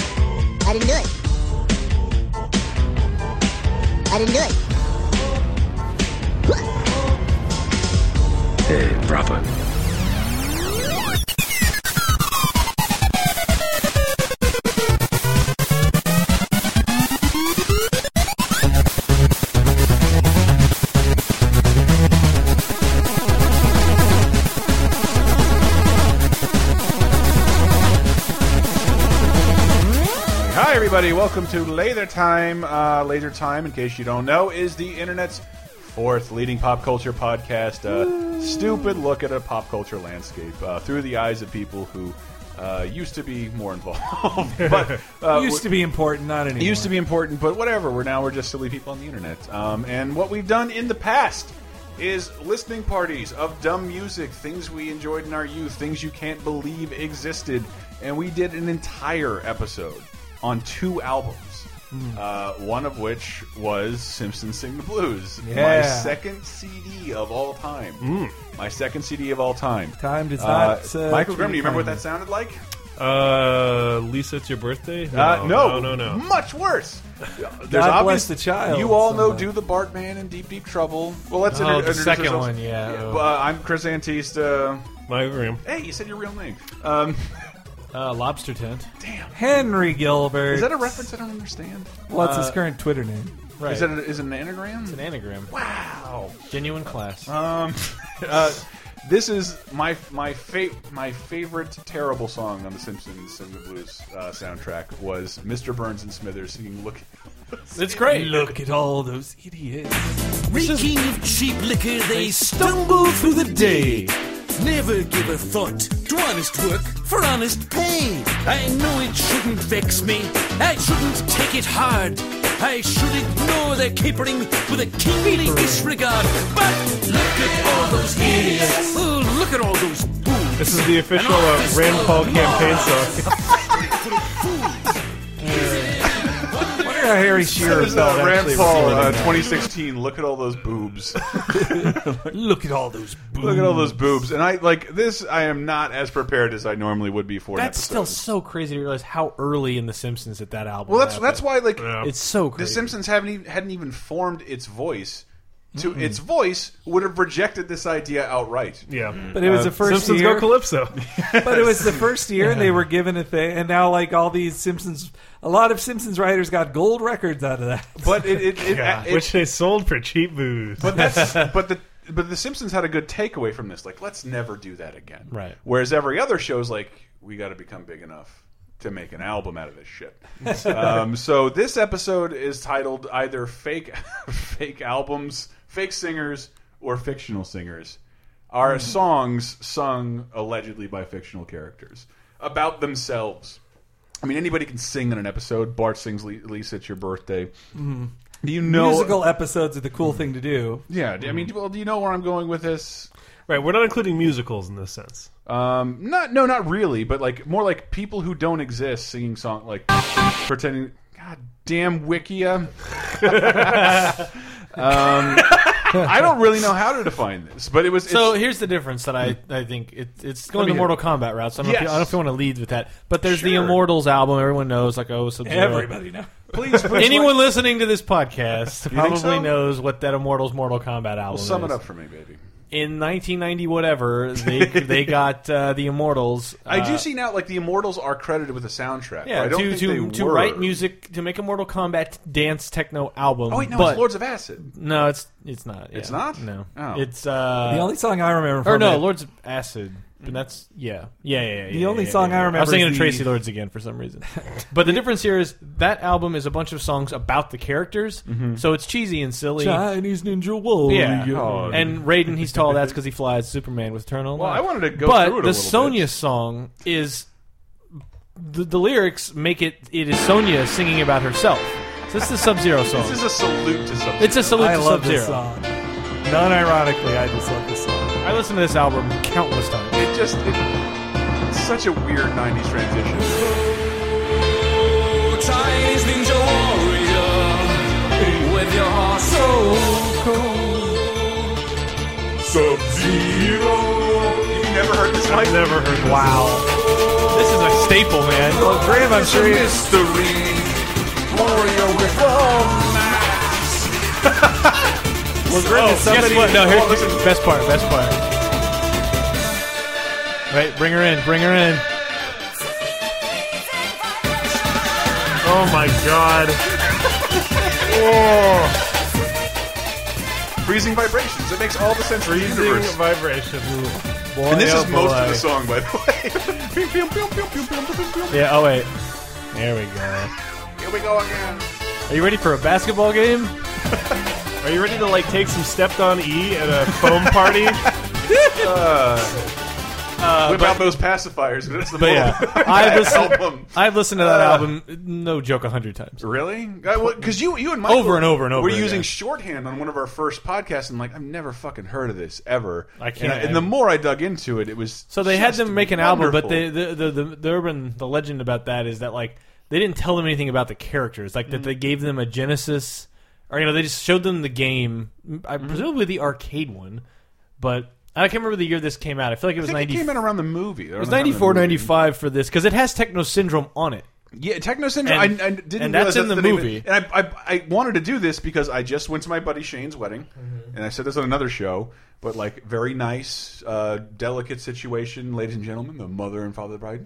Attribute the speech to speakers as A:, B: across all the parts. A: I didn't do it. I didn't do it.
B: Hey, Bravo.
C: Hi, everybody. Welcome to Laser Time. Uh, Laser Time, in case you don't know, is the internet's fourth leading pop culture podcast. Uh, stupid look at a pop culture landscape uh, through the eyes of people who uh, used to be more involved, but uh,
D: used to be important, not anymore.
C: it used to be important, but whatever. We're now we're just silly people on the internet. Um, and what we've done in the past is listening parties of dumb music, things we enjoyed in our youth, things you can't believe existed, and we did an entire episode on two albums.
D: Hmm.
C: Uh, one of which was Simpsons Sing the Blues, my
D: Yeah. Hmm.
C: second CD of all time. My second CD of all time.
D: Time does
C: Uh,
D: not. Uh,
C: Michael Grimm, do you remember what that sounded like?
E: Uh, Lisa, it's your birthday? No,
C: Uh, no,
E: no, no. no.
C: Much worse. There's
D: bless
C: obvious-
D: the child,
C: You all know
D: somebody.
C: Do the Bartman and Deep Deep Trouble. Well, let's
E: Oh,
C: inter-
E: the
C: introduce
E: second
C: ourselves.
E: one, yeah.
C: Uh, I'm Chris Antista.
E: Michael Grimm.
C: Hey, you said your real name. Um,
F: Uh, lobster tent.
D: Henry Gilbert.
C: is that a reference I don't understand?
D: Well, it's his current Twitter name.
F: Right.
C: Is that a, is it an anagram?
F: an anagram? Wow. Genuine class.
C: Um, uh, this is my my fa my favorite terrible song on the Simpsons Sing the Blues uh, soundtrack was Mr. Burns and Smithers singing "Look."
F: it's great.
D: Look at all those idiots.
G: Reeking of cheap liquor, they stumble through the day. Never give a thought to honest work for honest pay. I know it shouldn't vex me. I shouldn't take it hard. I should ignore their capering with a kingly disregard. But look at all those idiots. Oh, look at all those fools.
E: This is the official uh, Rand Paul campaign song.
D: Wonder how Harry Shearer
C: This is, uh,
D: felt
C: Rand
D: actually.
C: Paul, uh, 2016. Look at all those boobs.
D: Look at all those.
C: Look at all those boobs. And I like this. I am not as prepared as I normally would be for an
F: That's
C: episode.
F: still so crazy to realize how early in The Simpsons that that album.
C: well. That's
F: happened.
C: that's why like
F: It's so crazy.
C: the Simpsons haven't even, hadn't even formed its voice. To its voice would have rejected this idea outright.
F: Mm.
E: Yeah.
D: But it
C: Uh,
D: was the first
E: Simpsons
D: year.
E: go Calypso.
D: But it was the first year, and they were given a thing. And now, like all these Simpsons, a lot of Simpsons writers got gold records out of that.
C: But it, it, it, it-
E: Which they sold for cheap booze.
C: but that's but the but the Simpsons had a good takeaway from this. Like, let's never do that again.
F: Right.
C: Whereas every other show's like, we got to become big enough to make an album out of this shit. um, so this episode is titled either fake fake albums, fake singers, or fictional singers are songs sung allegedly by fictional characters about themselves. I mean, anybody can sing in an episode. Bart sings "Le- Lisa, it's your birthday. Do you know
D: Musical episodes are the cool thing to do.
C: yeah, do- I mean, well, do you know where I'm going with this?
E: Right, we're not including musicals in this sense.
C: Um, not, no, not really, but like more like people who don't exist singing song, like pretending. God damn Wikia. um, I don't really know how to define this, but it was
F: So
C: it's- Hmm.
F: here's the difference that I, I think it, it's going
C: me
F: the
C: hear
F: Mortal Kombat route. So I don't, know if you, I
C: Yes.
F: don't know if you want to lead with that. But there's the
C: Sure.
F: Immortals album. Everyone knows, like oh, Sub-Zero.
D: Everybody knows.
C: please, please
F: Anyone listening to this podcast
C: You think
F: probably
C: so?
F: knows what that Immortals Mortal Kombat album
C: sum
F: is.
C: it up for me, baby.
F: In 1990, whatever they they got uh, the Immortals. Uh,
C: I do see now, like the Immortals are credited with a soundtrack.
F: Yeah,
C: I don't
F: to
C: think
F: to,
C: they
F: to
C: were.
F: write music to make a Mortal Kombat dance techno album.
C: Oh wait, no,
F: but,
C: it's Lords of Acid.
F: No, it's it's not.
C: It's
F: yeah.
C: not?
F: No,
C: Oh.
F: it's uh,
D: The only song I remember. From
F: or no,
D: it-
F: Lords of Acid. But that's yeah, yeah, yeah. yeah
D: The
F: yeah,
D: only
F: yeah,
D: song
F: yeah, yeah.
D: I
F: I was
D: remember
F: thinking
D: is
F: of
D: the-
F: Tracy Lords again for some reason. but the difference here is that album is a bunch of songs about the characters,
D: Mm-hmm.
F: so it's cheesy and silly.
D: Chinese Ninja Warrior.
F: Yeah.
C: Oh,
F: And Raiden, he's tall. That's because he flies. Superman with eternal.
C: Well,
F: life.
C: I wanted to go
F: But
C: through it a
F: the
C: little
F: Sonya
C: bit.
F: song is the, the lyrics make it. It is Sonya singing about herself. So this is Sub Zero song.
C: This is a salute to something.
F: it's a salute
D: I
F: to
D: love
F: Sub Zero.
D: this song. Non-ironically, I just love this song.
F: I listened to this album countless times.
C: It just it, it's such a weird '90s transition.
G: Chinese Ninja Warrior with your heart so
C: Sub Zero. You never heard this one?
E: Never heard this.
F: Wow, this is a staple, man.
D: Well, Graham, I'm sure you.
C: Mystery warrior with romance.
D: Well, Graham, is somebody.
F: Guess what? No,
C: Oh,
F: here's
C: listen.
F: the best part. Best part. Right, bring her in. Bring her in.
E: Oh my god.
C: Freezing vibrations. It makes all the sense in the universe.
E: vibration.
C: and this
F: Boy,
C: is
F: oh
C: most of
F: boy.
C: the song, by the way.
F: Yeah. Oh wait. There we go.
C: Here we go again.
F: Are you ready for a basketball game?
E: Are you ready to like take some stepped on E at a foam party?
C: Whip out those pacifiers. 'cause It's the
F: But yeah, I've listened.
C: album.
F: I've listened to that
C: Uh.
F: album. No joke, a hundred times.
C: Really? Because you, you and Michael
F: Over and over and over
C: We're using
F: again.
C: shorthand on one of our first podcasts, and like I've never fucking heard of this ever.
F: I can't
C: And, I- and the more I dug into it, it was
F: So they had
C: just
F: them make an album, but they,
C: wonderful.
F: the, the the the urban the legend about that is that like they didn't tell them anything about the characters, like
C: Mm.
F: that they gave them a Genesis, or you know they just showed them the game, I
C: Mm-hmm.
F: presumably the arcade one, but I can't remember the year this came out. I feel like it
C: I
F: was
C: think it
F: ninety.
C: came out around the movie.
F: It was 94, 95 for this because it has Techno Syndrome on it.
C: Yeah, Techno Syndrome.
F: And-
C: I, I didn't
F: and that's in
C: realize
F: the
C: name of-
F: movie.
C: And I, I, I wanted to do this because I just went to my buddy Shane's wedding, and I said this on another show. But like, very nice, uh, delicate situation, ladies and gentlemen. The mother and father of the bride,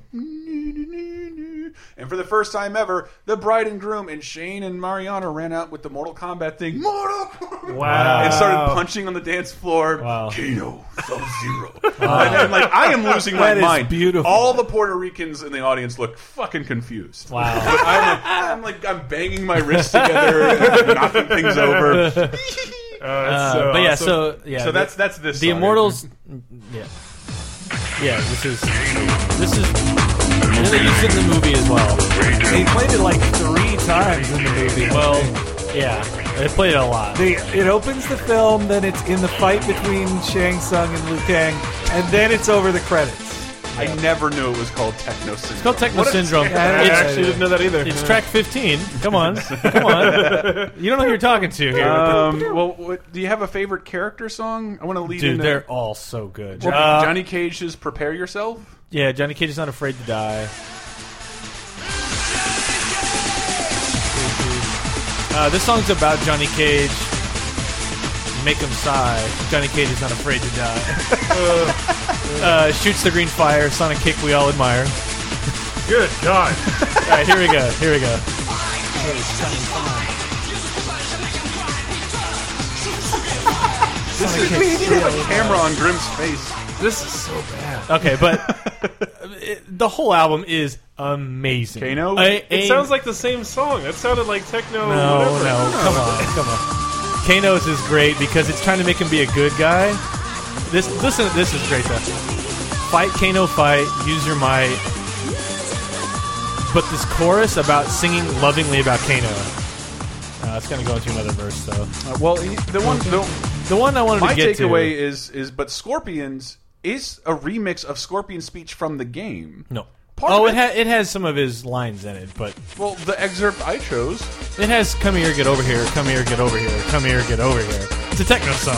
C: and for the first time ever, the bride and groom and Shane and Mariana ran out with the Mortal Kombat thing. Mortal Kombat!
E: Wow.
C: And started punching on the dance floor.
F: Oh. Wow.
C: Kano, Sub Zero. And I'm like, I am losing my
D: That is
C: mind.
D: beautiful.
C: All the Puerto Ricans in the audience look fucking confused.
F: Wow.
C: But I'm like, I'm like, I'm banging my wrists together, and knocking things over.
E: Oh, that's
F: Uh,
E: so
F: but yeah,
E: awesome.
F: so yeah,
C: So that's that's this.
F: the
C: song.
F: Immortals. Yeah, yeah. This is this is. And then they used it in the movie as well.
D: He played it like three times in the movie.
F: Well, yeah, they played it a lot.
D: They, it opens the film, then it's in the fight between Shang Tsung and Liu Kang, and then it's over the credits.
C: I never knew it was called Techno Syndrome.
F: It's called Techno
C: What a-
F: Syndrome.
D: Yeah,
E: I
D: yeah,
F: It's,
E: actually
D: yeah.
E: didn't know that either.
F: it's track 15. Come on. Come on. You don't know who you're talking to here.
C: Um, well, what, do you have a favorite character song? I want to lead
F: Dude,
C: into
F: they're all so good.
C: Well,
F: Uh,
C: Johnny Cage's "Prepare Yourself."
F: yeah, Johnny Cage is not afraid to die. Uh, this song's about Johnny Cage. Make him sigh. Johnny Cage is not afraid to die. uh, uh, shoots the green fire. Sonic kick we all admire.
E: Good god.
F: All right, here we go. Here we go.
C: This is, we need to have a camera on Grimm's face.
E: This is so bad.
F: Okay, but it, the whole album is amazing.
C: Kano?
F: I-
E: It
F: I-
E: sounds like the same song. That sounded like techno.
F: no,
E: whatever.
F: no. Come on, come on. Kano's is great because it's trying to make him be a good guy. This, listen, this is great though. Fight Kano, fight. Use your might. But this chorus about singing lovingly about Kano. Uh, it's gonna go into another verse though.
C: Uh, well, the one, the,
F: The one I wanted
C: my
F: to get
C: takeaway
F: to.
C: is is but Scorpions is a remix of Scorpion's speech from the game.
F: No.
C: Part
F: oh,
C: of
F: it, ha- it has some of his lines in it, but
C: Well, the excerpt I chose.
F: It has come here, get over here, come here, get over here, come here, get over here. It's a techno song.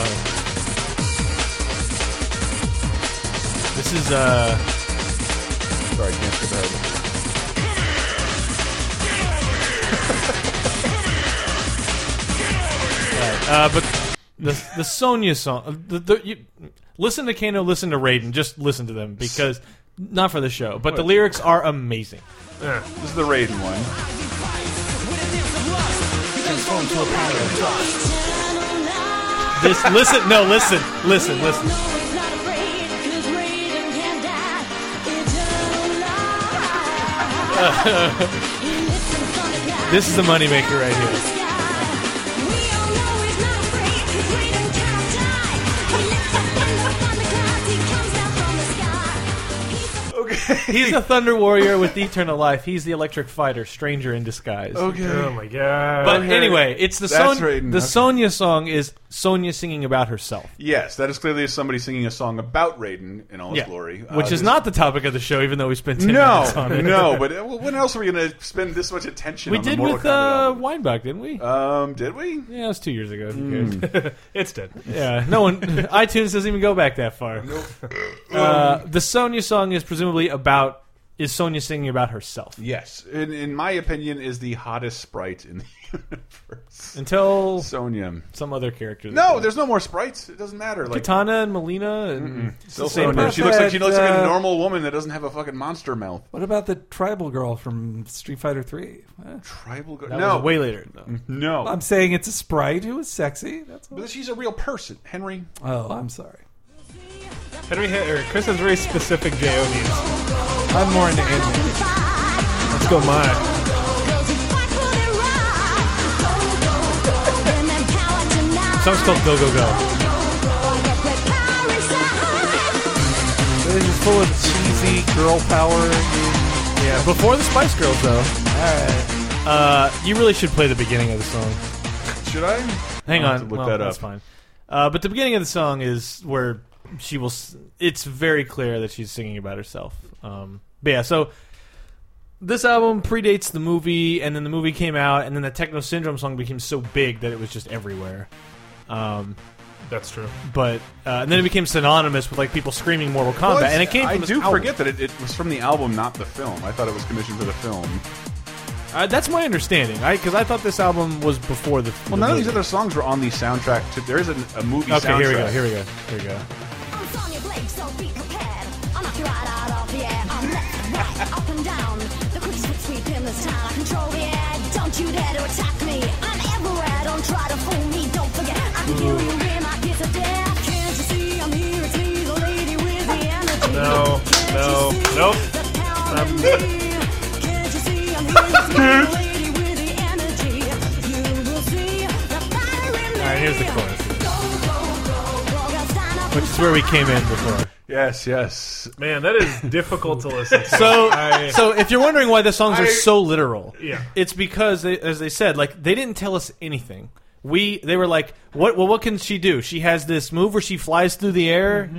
F: This is uh
C: Sorry, I can't skip ahead.
F: uh but the the Sonya song. uh, The, the, you, listen to Kano, listen to Raiden, just listen to them because not for the show, but the lyrics are amazing.
C: This is the Raiden one.
F: This listen, no, listen, listen, listen. This is the moneymaker right here.
C: Okay.
F: He's a Thunder Warrior with eternal life. He's the Electric Fighter, stranger in disguise.
C: Okay.
E: Oh my god.
F: But anyway, it's the Son-
C: That's Raiden,
F: the
C: okay.
F: Sonya song is Sonya singing about herself.
C: Yes, that is clearly somebody singing a song about Raiden in all his
F: Yeah.
C: glory, Uh,
F: Which is
C: this-
F: not the topic of the show, even though we spent 10
C: No,
F: minutes on it.
C: no. But uh, well, when else are we going to spend this much attention?
F: We
C: on
F: did
C: the Mortal
F: with
C: Kombat
F: uh,
C: album?
F: Weinbach, didn't we?
C: Um, did we?
F: yeah, it was two years ago. Who
C: hmm.
F: cares?
E: it's dead.
F: yeah, no one. iTunes doesn't even go back that far. Uh, the Sonya song is presumably about is Sonya singing about herself
C: Yes, in, in my opinion, is the hottest sprite in the universe.
F: until
C: Sonya.
F: some other character. that
C: No,
F: does.
C: there's no more sprites. It doesn't matter. Like
F: Katana and Melina. And it's
C: still
F: the same
C: Sonya.
F: person.
C: She looks like she looks like a
D: Uh,
C: normal woman that doesn't have a fucking monster mouth.
D: What about the tribal girl from Street Fighter Three?
C: Tribal. Go-
F: That
C: no,
F: was way later. though.
C: no.
D: I'm saying it's a sprite who is sexy. That's all.
C: but she's a real person, Henry.
D: Oh, I'm sorry.
E: Henry Ha- or Chris has very specific J.O. needs.
D: I'm more into anime.
E: Let's go my.
F: Song's called Go Go Go.
D: This is full of cheesy girl power.
F: Yeah, before the Spice Girls though.
D: Alright.
F: Uh, you really should play the beginning of the song.
C: Should I?
F: Hang
C: I'll
F: on,
C: have to look
F: Well,
C: that
F: That's
C: up.
F: fine. Uh, but the beginning of the song is where she will. s- It's very clear that she's singing about herself. Um, but yeah, so this album predates the movie, and then the movie came out, and then the Techno Syndrome song became so big that it was just everywhere. Um,
E: That's true.
F: but uh, and then it became synonymous with like people screaming Mortal Kombat,
C: Well, it's-
F: and it came. From
C: I
F: this
C: do
F: album.
C: forget that it, it was from the album, not the film. I thought it was commissioned for the film.
F: Uh, that's my understanding. I because I thought this album was before the.
C: Well, none of these other songs were on the soundtrack. To, there is a, a movie
F: Okay,
C: soundtrack.
F: here we go. Here we go. Here we go.
A: Don't you dare to attack me. I'm everywhere. Don't try to fool me. Don't forget. I can kill you in my kiss of death. Can't you see I'm here? It's me, the lady with the energy.
E: No, no, nope.
A: Alright,
F: here's the chorus. Which is where we came in before.
C: Yes, yes.
E: Man, that is difficult to listen to.
F: So,
E: I-
F: so if you're wondering why the songs are so literal,
E: Yeah.
F: it's because they, as they said, like they didn't tell us anything. We they were like, what? Well, what can she do? She has this move where she flies through the air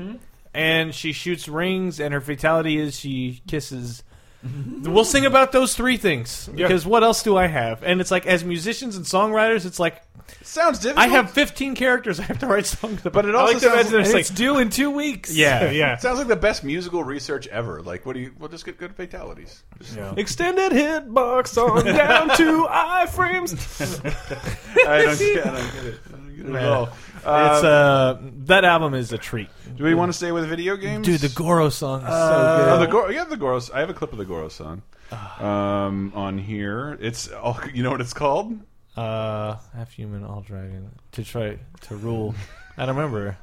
F: and she shoots rings, and her fatality is she kisses. We'll sing about those three things
E: Yeah.
F: because what else do I have? And it's like, as musicians and songwriters, it's like
C: Sounds difficult.
F: I have 15 characters I have to write songs about.
C: but it
E: I
C: also
E: like to
C: sounds,
E: imagine
D: And
E: it's like
D: it's due in two weeks.
F: yeah,
E: yeah.
C: sounds like the best musical research ever. Like, what do you? Well, just get good fatalities. Just-
E: Extended hitbox on down to iframes.
C: I, don't, get- I don't get it. I don't get it at
F: Yeah.
C: all.
E: Um,
C: Um,
F: It's uh, that album is a treat.
C: Do we want to stay with video games?
F: Dude, the Goro song is
C: Oh,
F: so
C: the
F: good.
C: Goro, yeah, the Goros. I have a clip of the Goro song um, on here. It's oh, you know what it's called?
F: uh, half human, all dragon. To try to rule. I don't remember.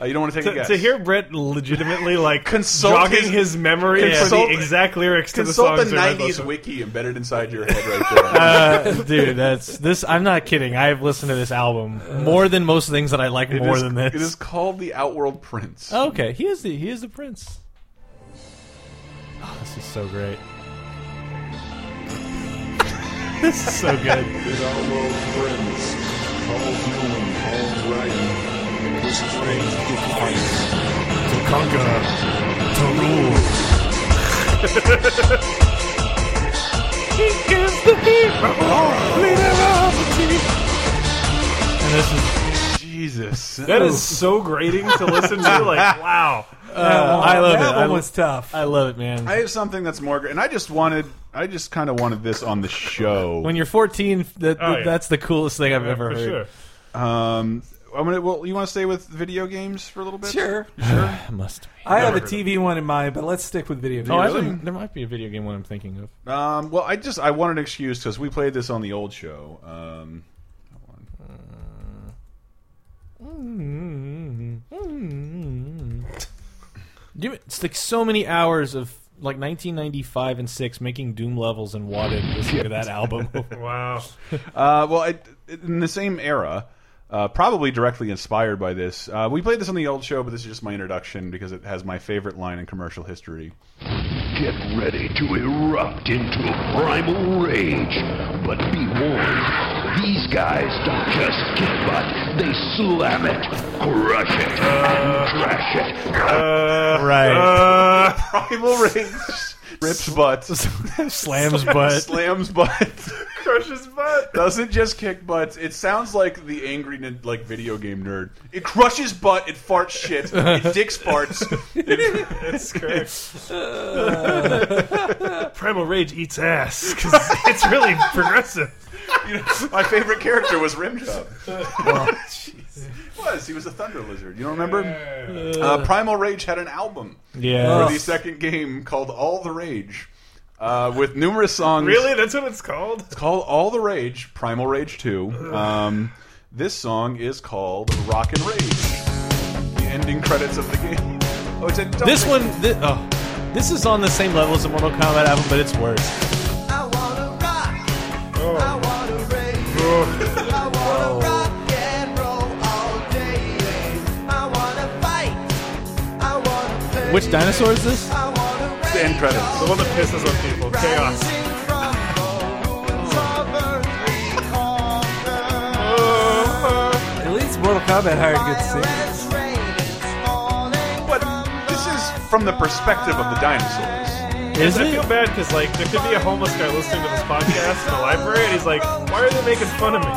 C: Uh, you don't want to take a
E: To,
C: guess.
E: to hear Brett legitimately like
C: Consult
E: jogging
C: his-
E: his, memory
C: consult-
E: for the exact lyrics to
C: consult
E: the
C: the,
E: songs. that Brett
C: '90s
E: listened
C: wiki embedded inside your head right there.
F: Uh, dude, that's this. I'm not kidding. I've listened to this album more than most things that I like
C: It
F: more
C: is-
F: than this.
C: It is called the Outworld Prince.
F: Oh, okay, he is the he is the prince. Oh, this is so great. this is so good.
B: It all world friends, all human, all dragon. This strange device to conquer, to rule.
F: And this is
C: Jesus.
E: to. That is so grating to listen to. Like, wow.
D: That one-
F: I love
D: that
F: it.
D: one
F: I-
D: was tough.
F: I love it, man.
C: I have something that's more. gr- And I just wanted. I just kind of wanted this on the show.
F: when you're 14, that,
E: Oh, yeah.
F: that's the coolest thing I've ever
E: For
F: heard.
E: sure.
C: um, I'm gonna. Well, you want to stay with video games for a little bit?
D: sure.
F: I must be.
D: I have a
E: heard of
D: TV one in mind, but let's stick with video games.
F: Oh, I
C: Really?
F: haven't- there might be a video game one I'm thinking of.
C: Um, well, I just I want an excuse because we played this on the old show. Um,
F: You- It's like so many hours of like 1995 and six making Doom levels and wadded listening to that album.
E: Wow.
C: Uh, well, it, in the same era, uh, probably directly inspired by this. Uh, we played this on the old show, but this is just my introduction because it has my favorite line in commercial history.
H: Get ready to erupt into a primal rage. But be warned, these guys don't just kick butt, they slam it, crush it, and trash it.
E: Uh,
F: right,
C: Primal Rage rips butt,
F: slams butt.
C: slams butt.
E: Crushes butt.
C: doesn't just kick butts. It sounds like the angry nin- like video game nerd. It crushes butt. It farts shit. It dicks farts. It,
E: That's correct. Primal Rage eats ass because it's really progressive.
C: you know, my favorite character was Rimjob. was he was a thunder lizard? You don't remember? Uh, Primal Rage had an album
F: Yeah.
C: for the second game called All the Rage, uh, with numerous songs.
E: Really, that's what it's called.
C: It's called All the Rage, Primal Rage 2. Um, this song is called Rockin' Rage. The ending credits of the game. Oh, it's a
F: This one, thi- oh, this is on the same level as the Mortal Kombat album, but it's worse. Which dinosaur is this?
C: the end credits.
E: The one that pisses on people. Chaos.
D: At least Mortal Kombat hired good singers.
C: But this is from the perspective of the dinosaurs.
F: Is
E: I feel
F: it?
E: bad because like there could be a homeless guy listening to this podcast in the library, and he's like, "Why are they making fun of me?"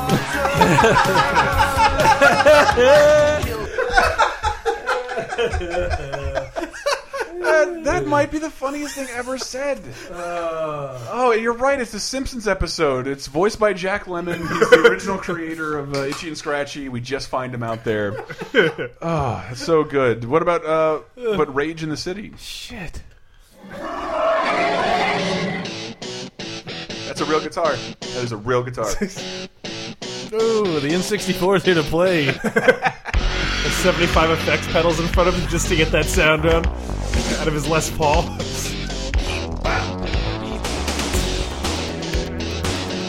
C: That, that might be the funniest thing ever said. oh, you're right. It's the Simpsons episode. It's voiced by Jack Lemmon. He's the original creator of uh, Itchy and Scratchy. We just find him out there. Oh, that's so good. What about uh, but Rage in the City?
F: Shit.
C: That's a real guitar. That is a real guitar.
F: Ooh, the N64 is here to play.
E: There's 75 effects pedals in front of him just to get that sound down out of his Les Paul.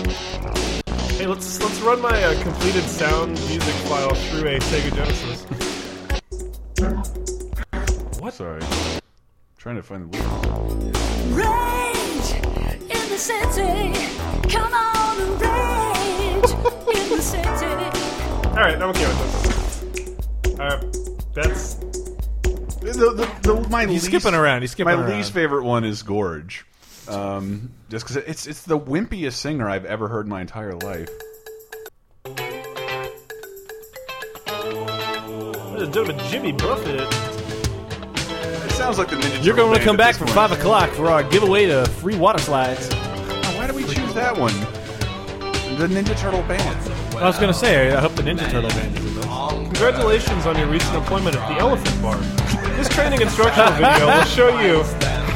E: Hey, let's let's run my uh, completed sound music file through a Sega Genesis.
C: What? Sorry. I'm trying to find the lyrics.
A: Rage in the city. Come on and rage in the city.
E: All right, I'm okay with this. Uh, that's
C: The, the, the, my
F: He's
C: least-
F: skipping around. He's
C: My
F: skipping around.
C: least favorite one is Gorge, um, just because it's it's the wimpiest singer I've ever heard in my entire life.
E: what a bit of a Jimmy Buffett.
C: It sounds like the Ninja.
F: You're
C: going to
F: come back for five o'clock for our giveaway to free water slides.
C: Why did we choose that one? The Ninja Turtle band.
F: I was gonna say, I hope the Ninja Turtle band is in this.
E: Congratulations on your recent employment at the Elephant Bar. This training instructional video will show you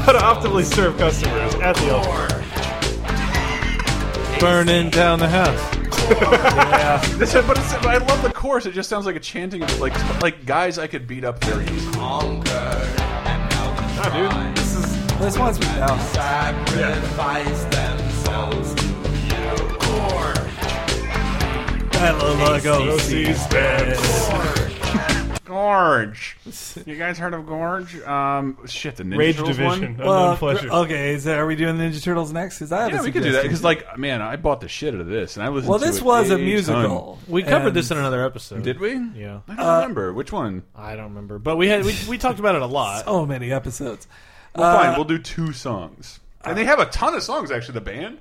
E: how to optimally serve customers at the Elephant Bar.
F: burning down the house.
C: This, but it's, but I love the chorus. It just sounds like a chanting of like like guys I could beat up very easily.
E: Nah, dude, this is
D: This one's with Dallas.
E: OC's bad.
C: Gorge. You guys heard of Gorge? Um, shit, the Ninja
E: Rage
C: Turtles
E: Division,
C: one.
E: unknown
D: Well,
E: pleasure.
F: uh,
D: okay, is that, are we doing Ninja Turtles next? Because I have
C: Yeah,
D: a
C: we could do that
D: suggestion.
C: because, like, man, I bought the shit out of this, and I listened.
D: well,
C: to
D: this
C: it
D: was a
C: ton.
D: musical.
F: We covered
D: And-
F: this in another episode.
C: Did we?
F: Yeah.
C: I don't remember which one.
F: I don't remember, but we had we, we talked about it a lot.
D: so many episodes.
C: Well, fine, we'll do two songs. Uh, And they have a ton of songs, actually, the band.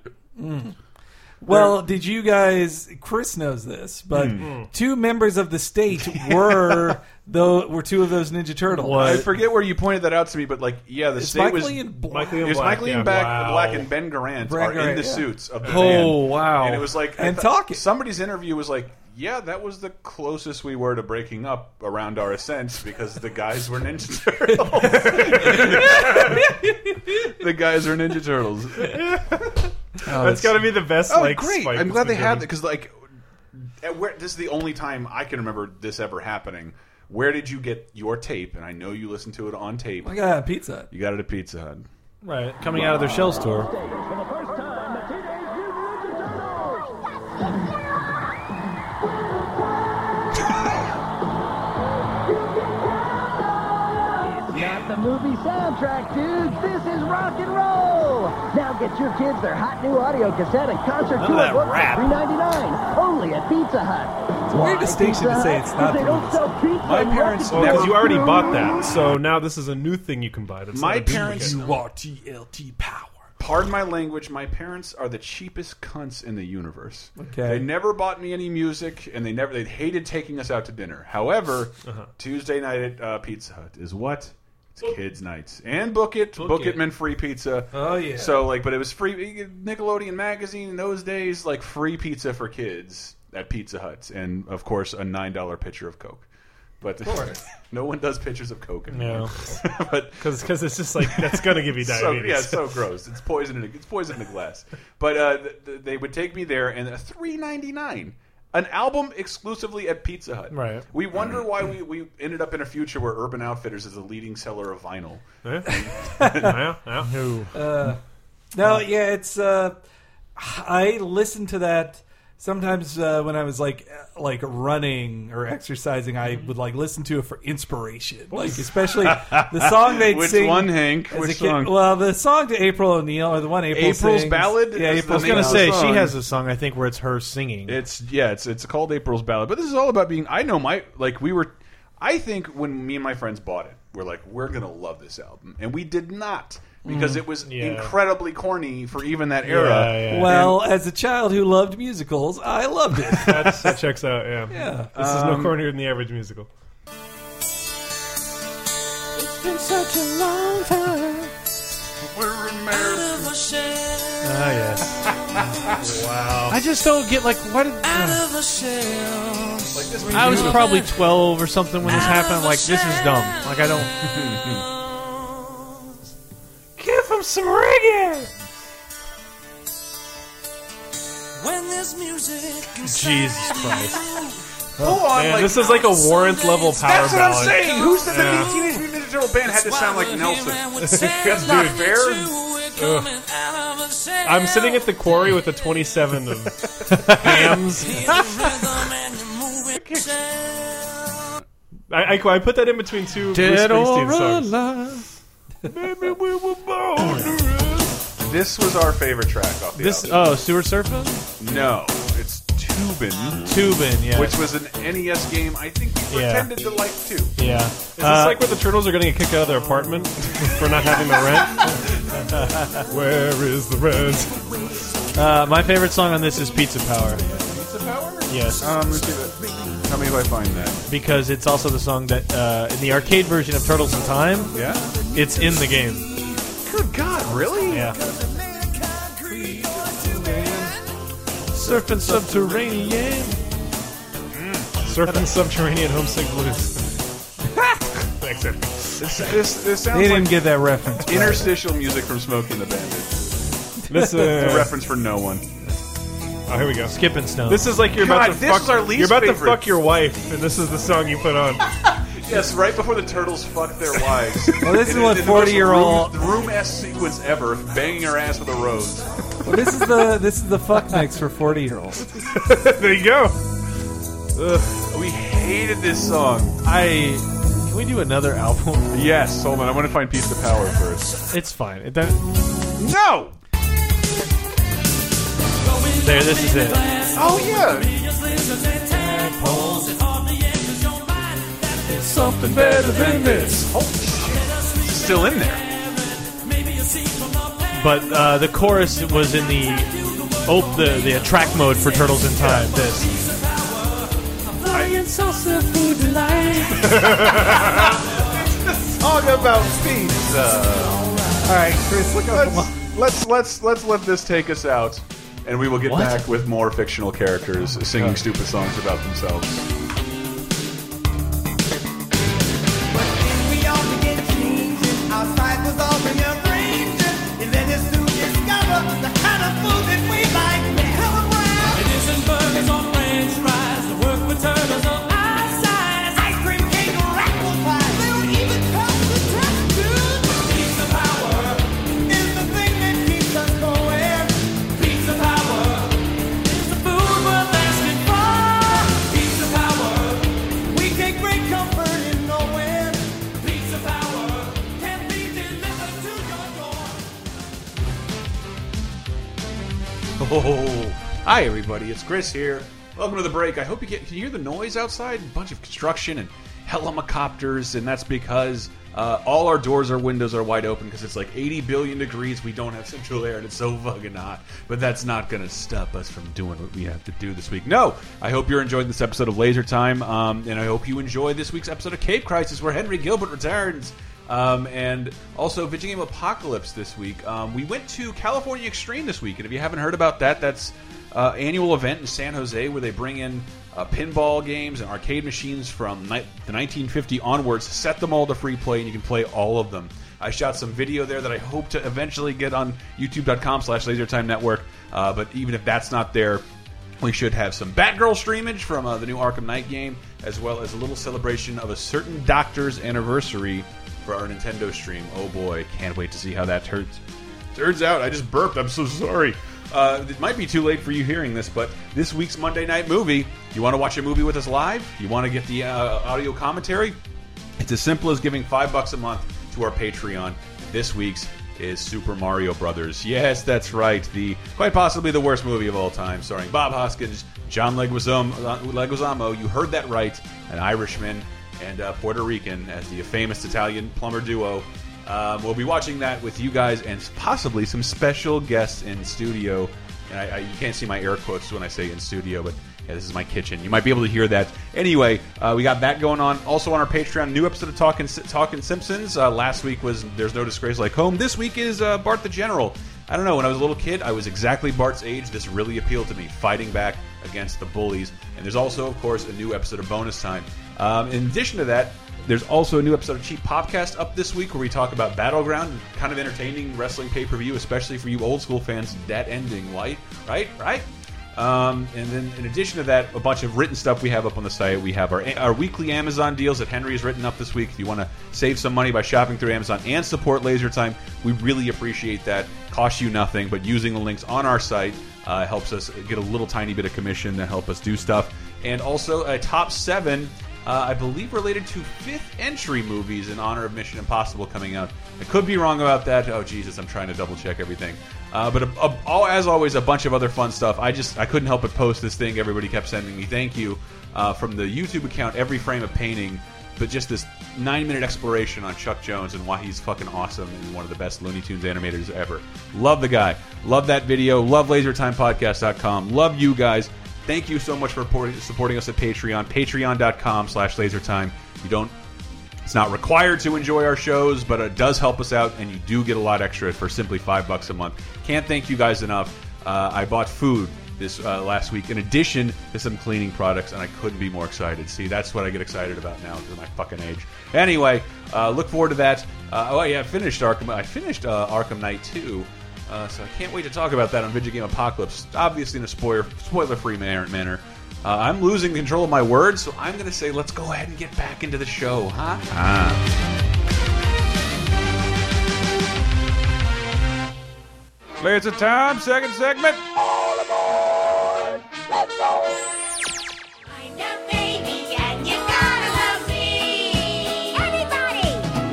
D: Well, did you guys? Chris knows this, but
C: Hmm.
F: Hmm.
D: two members of the state were though were two of those Ninja Turtles.
C: I forget where you pointed that out to me, but, like, yeah, the
D: It's
C: state
D: Mike
C: was...
D: Lee and Black.
E: Michael Ian
C: It was Mike Lee and Black,
E: Wow.
C: Black and Ben Garant
D: Ben
C: are in
D: Garant,
C: the
D: yeah.
C: suits of
F: Oh,
C: the band.
F: wow.
C: And it was like... I
D: And
C: thought-
D: talking.
C: Somebody's interview was like, yeah, that was the closest we were to breaking up around our ascents because the guys were Ninja Turtles. the guys are Ninja Turtles.
E: That's got to be the best.
C: Oh,
E: like,
C: great!
E: spike
C: I'm
E: that's
C: glad they
E: been
C: had that
E: given.
C: because like, at where this is the only time I can remember this ever happening. Where did you get your tape? And I know you listened to it on tape.
D: I got a pizza.
C: You got it at Pizza Hut.
F: Right, coming out of their shell store.
I: Not the movie soundtrack, dudes. This is rock and roll. Now get your kids their hot new audio cassette and concert
F: None of
I: tour
F: that
I: book
F: rap.
I: for $3.99. Only at Pizza Hut. It's
D: weird distinction to say it's not
I: They
D: the
I: don't
D: movie
I: sell pizza.
C: My
I: and
C: parents
I: rock
E: Well,
I: and
C: never-
I: roll.
E: because you already bought that, so now this is a new thing you can buy. That's
C: My
E: not a duplicate.
C: parents-
D: You are TLT power.
C: Pardon my language. My parents are the cheapest cunts in the universe.
D: Okay.
C: They never bought me any music, and they never they hated taking us out to dinner. However, Tuesday night at uh, Pizza Hut is what it's kids' nights and book it, book, it.
F: It.
C: meant free pizza.
D: Oh, yeah.
C: So like, but it was free Nickelodeon magazine in those days, like free pizza for kids at Pizza Hut, and of course a nine dollar pitcher of Coke. But no one does pictures of Coke anymore. but
E: Because it's just like, that's going to give you
C: so,
E: diabetes.
C: yeah, it's so gross. It's poison. In a, it's poison in a glass. But uh, th- th- they would take me there, and a three ninety nine, an album exclusively at Pizza Hut.
E: Right.
C: We wonder why we, we ended up in a future where Urban Outfitters is the leading seller of vinyl.
E: yeah, yeah.
D: No, yeah, it's. Uh, I listened to that sometimes uh, when I was like uh, like running or exercising. I would like listen to it for inspiration, like especially the song they'd
C: Which
D: sing.
C: one, Hank?
D: as a
C: Which
D: kid-
C: song?
D: Well, the song to April O'Neil, or the one April
C: April's
D: sings.
C: Ballad
D: Yeah,
C: is the
D: April's
C: name
F: I
C: of
F: was
C: the
F: gonna say
C: song.
F: she has a song I think where it's her
E: Mm-hmm.
F: singing.
C: It's yeah, it's it's called April's Ballad, but this is all about being. I know my like we were. I think when me and my friends bought it, we're like we're gonna love this album, and we did not because it was
E: Mm-hmm. Yeah.
C: incredibly corny for even that era.
E: yeah.
D: Well, as a child who loved musicals, I loved it.
E: That's, that checks out, yeah.
D: Yeah.
E: This is
F: um,
E: no cornier than the average musical.
G: It's been such a long time.
C: We're in Mar-
G: Out of a shell.
E: Ah, yes.
F: I just don't get like what. Did,
G: Out of a shell.
C: like this
F: I was probably twelve or something when this happened. I'm like this is dumb. Like I don't.
E: Give him some reggae!
G: When there's music
F: Jesus Christ.
C: Hold on,
E: Man,
C: like,
E: this is like a warrant level power
C: that's what I'm
E: ballad.
C: saying. Who said that the Teenage Mutant Ninja Turtle band had to sound like Nelson?
G: That's
C: not fair.
E: I'm sitting at the quarry with a 27 of hams. I, I, I put that in between two
F: Dead
E: Bruce
F: or
E: Springsteen songs.
F: alive.
C: This was our favorite track off the
F: This
C: album.
F: oh sewer surfing,
C: no, it's Tubin,
F: tubing, yeah,
C: which was an NES game. I think we
E: Yeah.
C: pretended to like too.
F: yeah.
E: Is this like where the turtles are going to get kicked out of their apartment for not having the rent? where is the rent?
F: Uh, my favorite song on this is Pizza Power.
C: Pizza Power?
F: Yes,
C: Um, let's give it. Tell me if I find that.
F: because it's also the song that uh, in the arcade version of Turtles in Time,
C: Yeah.
F: it's in the game.
C: Good God, really?
F: Yeah. Surfing subterranean.
E: Surfing Mm. subterranean homesick blues. Thanks, Ed.
C: This, this, this
D: they
C: sounds
D: didn't
C: like
D: get that reference.
C: interstitial music from Smoking the Bandit.
E: This
C: A
E: uh,
C: reference for no one.
E: oh, here we go.
F: Skipping stone.
E: This is like you're
C: God,
E: about to
C: this
E: fuck
C: is our least
E: you're about to
C: favorite.
E: fuck your wife, and this is the song you put on.
C: Yes, right before the turtles fuck their wives.
D: Well, this is
C: In-
D: what
C: in the most
D: 40-year-old
C: room ass sequence ever, banging her ass with a rose.
D: Well, this is the this is the fuck mix for forty year olds.
E: there you go.
C: We hated this song.
F: I. Can we do another album?
C: Yes, hold on. I want to find Piece of Power first.
F: It's fine. It doesn't-
C: No!
F: there, this is it.
C: Oh, yeah.
F: Something better than this.
C: Still in there.
F: But uh, the chorus was in the op the the uh, track mode for Turtles in Time. This
C: Talk about pizza.
D: All right, Chris, look up. the-
C: Let's, let's, let's, let's let this take us out, and we will get back with more fictional characters singing
D: Oh.
C: stupid songs about themselves. Oh, hi everybody, it's Chris here. Welcome to the break. I hope you get. Can you hear the noise outside? A bunch of construction and helicopters, and that's because Uh, all our doors, our windows are wide open because it's like 80 billion degrees. We don't have central air and it's so fucking hot. But that's not going to stop us from doing what we have to do this week. No, I hope you're enjoying this episode of Laser Time. Um, and I hope you enjoy this week's episode of Cape Crisis where Henry Gilbert returns. Um, and also Video Game Apocalypse this week. Um, we went to California Extreme this week. And if you haven't heard about that, that's uh, annual event in San Jose where they bring in uh, pinball games and arcade machines from ni the 1950 onwards, set them all to free play, and you can play all of them. I shot some video there that I hope to eventually get on youtube.com slash lasertime network. Uh, but even if that's not there, we should have some Batgirl streamage from uh, the new Arkham Knight game, as well as a little celebration of a certain doctor's anniversary for our Nintendo stream. Oh boy, can't wait to see how that turns. Turns out I just burped. I'm so sorry. Uh, it might be too late for you hearing this, but this week's Monday Night Movie. You want to watch a movie with us live? You want to get the uh, audio commentary? It's as simple as giving five bucks a month to our Patreon. This week's is Super Mario Brothers. Yes, that's right. The quite possibly the worst movie of all time, starring Bob Hoskins, John Leguizamo. Leguizamo you heard that right. An Irishman and uh, Puerto Rican as the famous Italian plumber duo. Um, we'll be watching that with you guys and possibly some special guests in studio. And I, I, you can't see my air quotes when I say in studio, but yeah, this is my kitchen. You might be able to hear that. Anyway, uh, we got that going on. Also on our Patreon, new episode of Talking Talking Simpsons. Uh, last week was "There's No Disgrace Like Home." This week is uh, Bart the General. I don't know. When I was a little kid, I was exactly Bart's age. This really appealed to me, fighting back against the bullies. And there's also, of course, a new episode of Bonus Time. Um, in addition to that, there's also a new episode of Cheap Popcast up this week where we talk about Battleground, kind of entertaining wrestling pay per view, especially for you old school fans. That ending, light, right, right. Um, and then, in addition to that, a bunch of written stuff we have up on the site. We have our our weekly Amazon deals that Henry has written up this week. If you want to save some money by shopping through Amazon and support Laser Time, we really appreciate that. Costs you nothing, but using the links on our site uh, helps us get a little tiny bit of commission to help us do stuff. And also a top seven uh, I believe related to fifth entry movies in honor of Mission Impossible coming out. I could be wrong about that. Oh Jesus, I'm trying to double check everything. Uh, but a, a, all, as always, a bunch of other fun stuff. I just I couldn't help but post this thing. Everybody kept sending me thank you uh, from the YouTube account. Every frame of painting, but just this nine minute exploration on Chuck Jones and why he's fucking awesome and one of the best Looney Tunes animators ever. Love the guy. Love that video. Love LaserTimePodcast.com. Love you guys. Thank you so much for support- supporting us at Patreon. Patreon.com slash lasertime. You don't it's not required to enjoy our shows, but it does help us out, and you do get a lot extra for simply five bucks a month. Can't thank you guys enough. Uh, I bought food this uh, last week in addition to some cleaning products, and I couldn't be more excited. See, that's what I get excited about now because of my fucking age. Anyway, uh, look forward to that. Uh, oh yeah, I finished Arkham. I finished uh, Arkham Knight two. Uh, so I can't wait to talk about that on Video Game Apocalypse. Obviously, in a spoiler spoiler free manner. manner. Uh, I'm losing control of my words, so I'm going to say let's go ahead and get back into the show, huh? Laser time, second segment.
A: I'm your baby and you gotta love me. Everybody,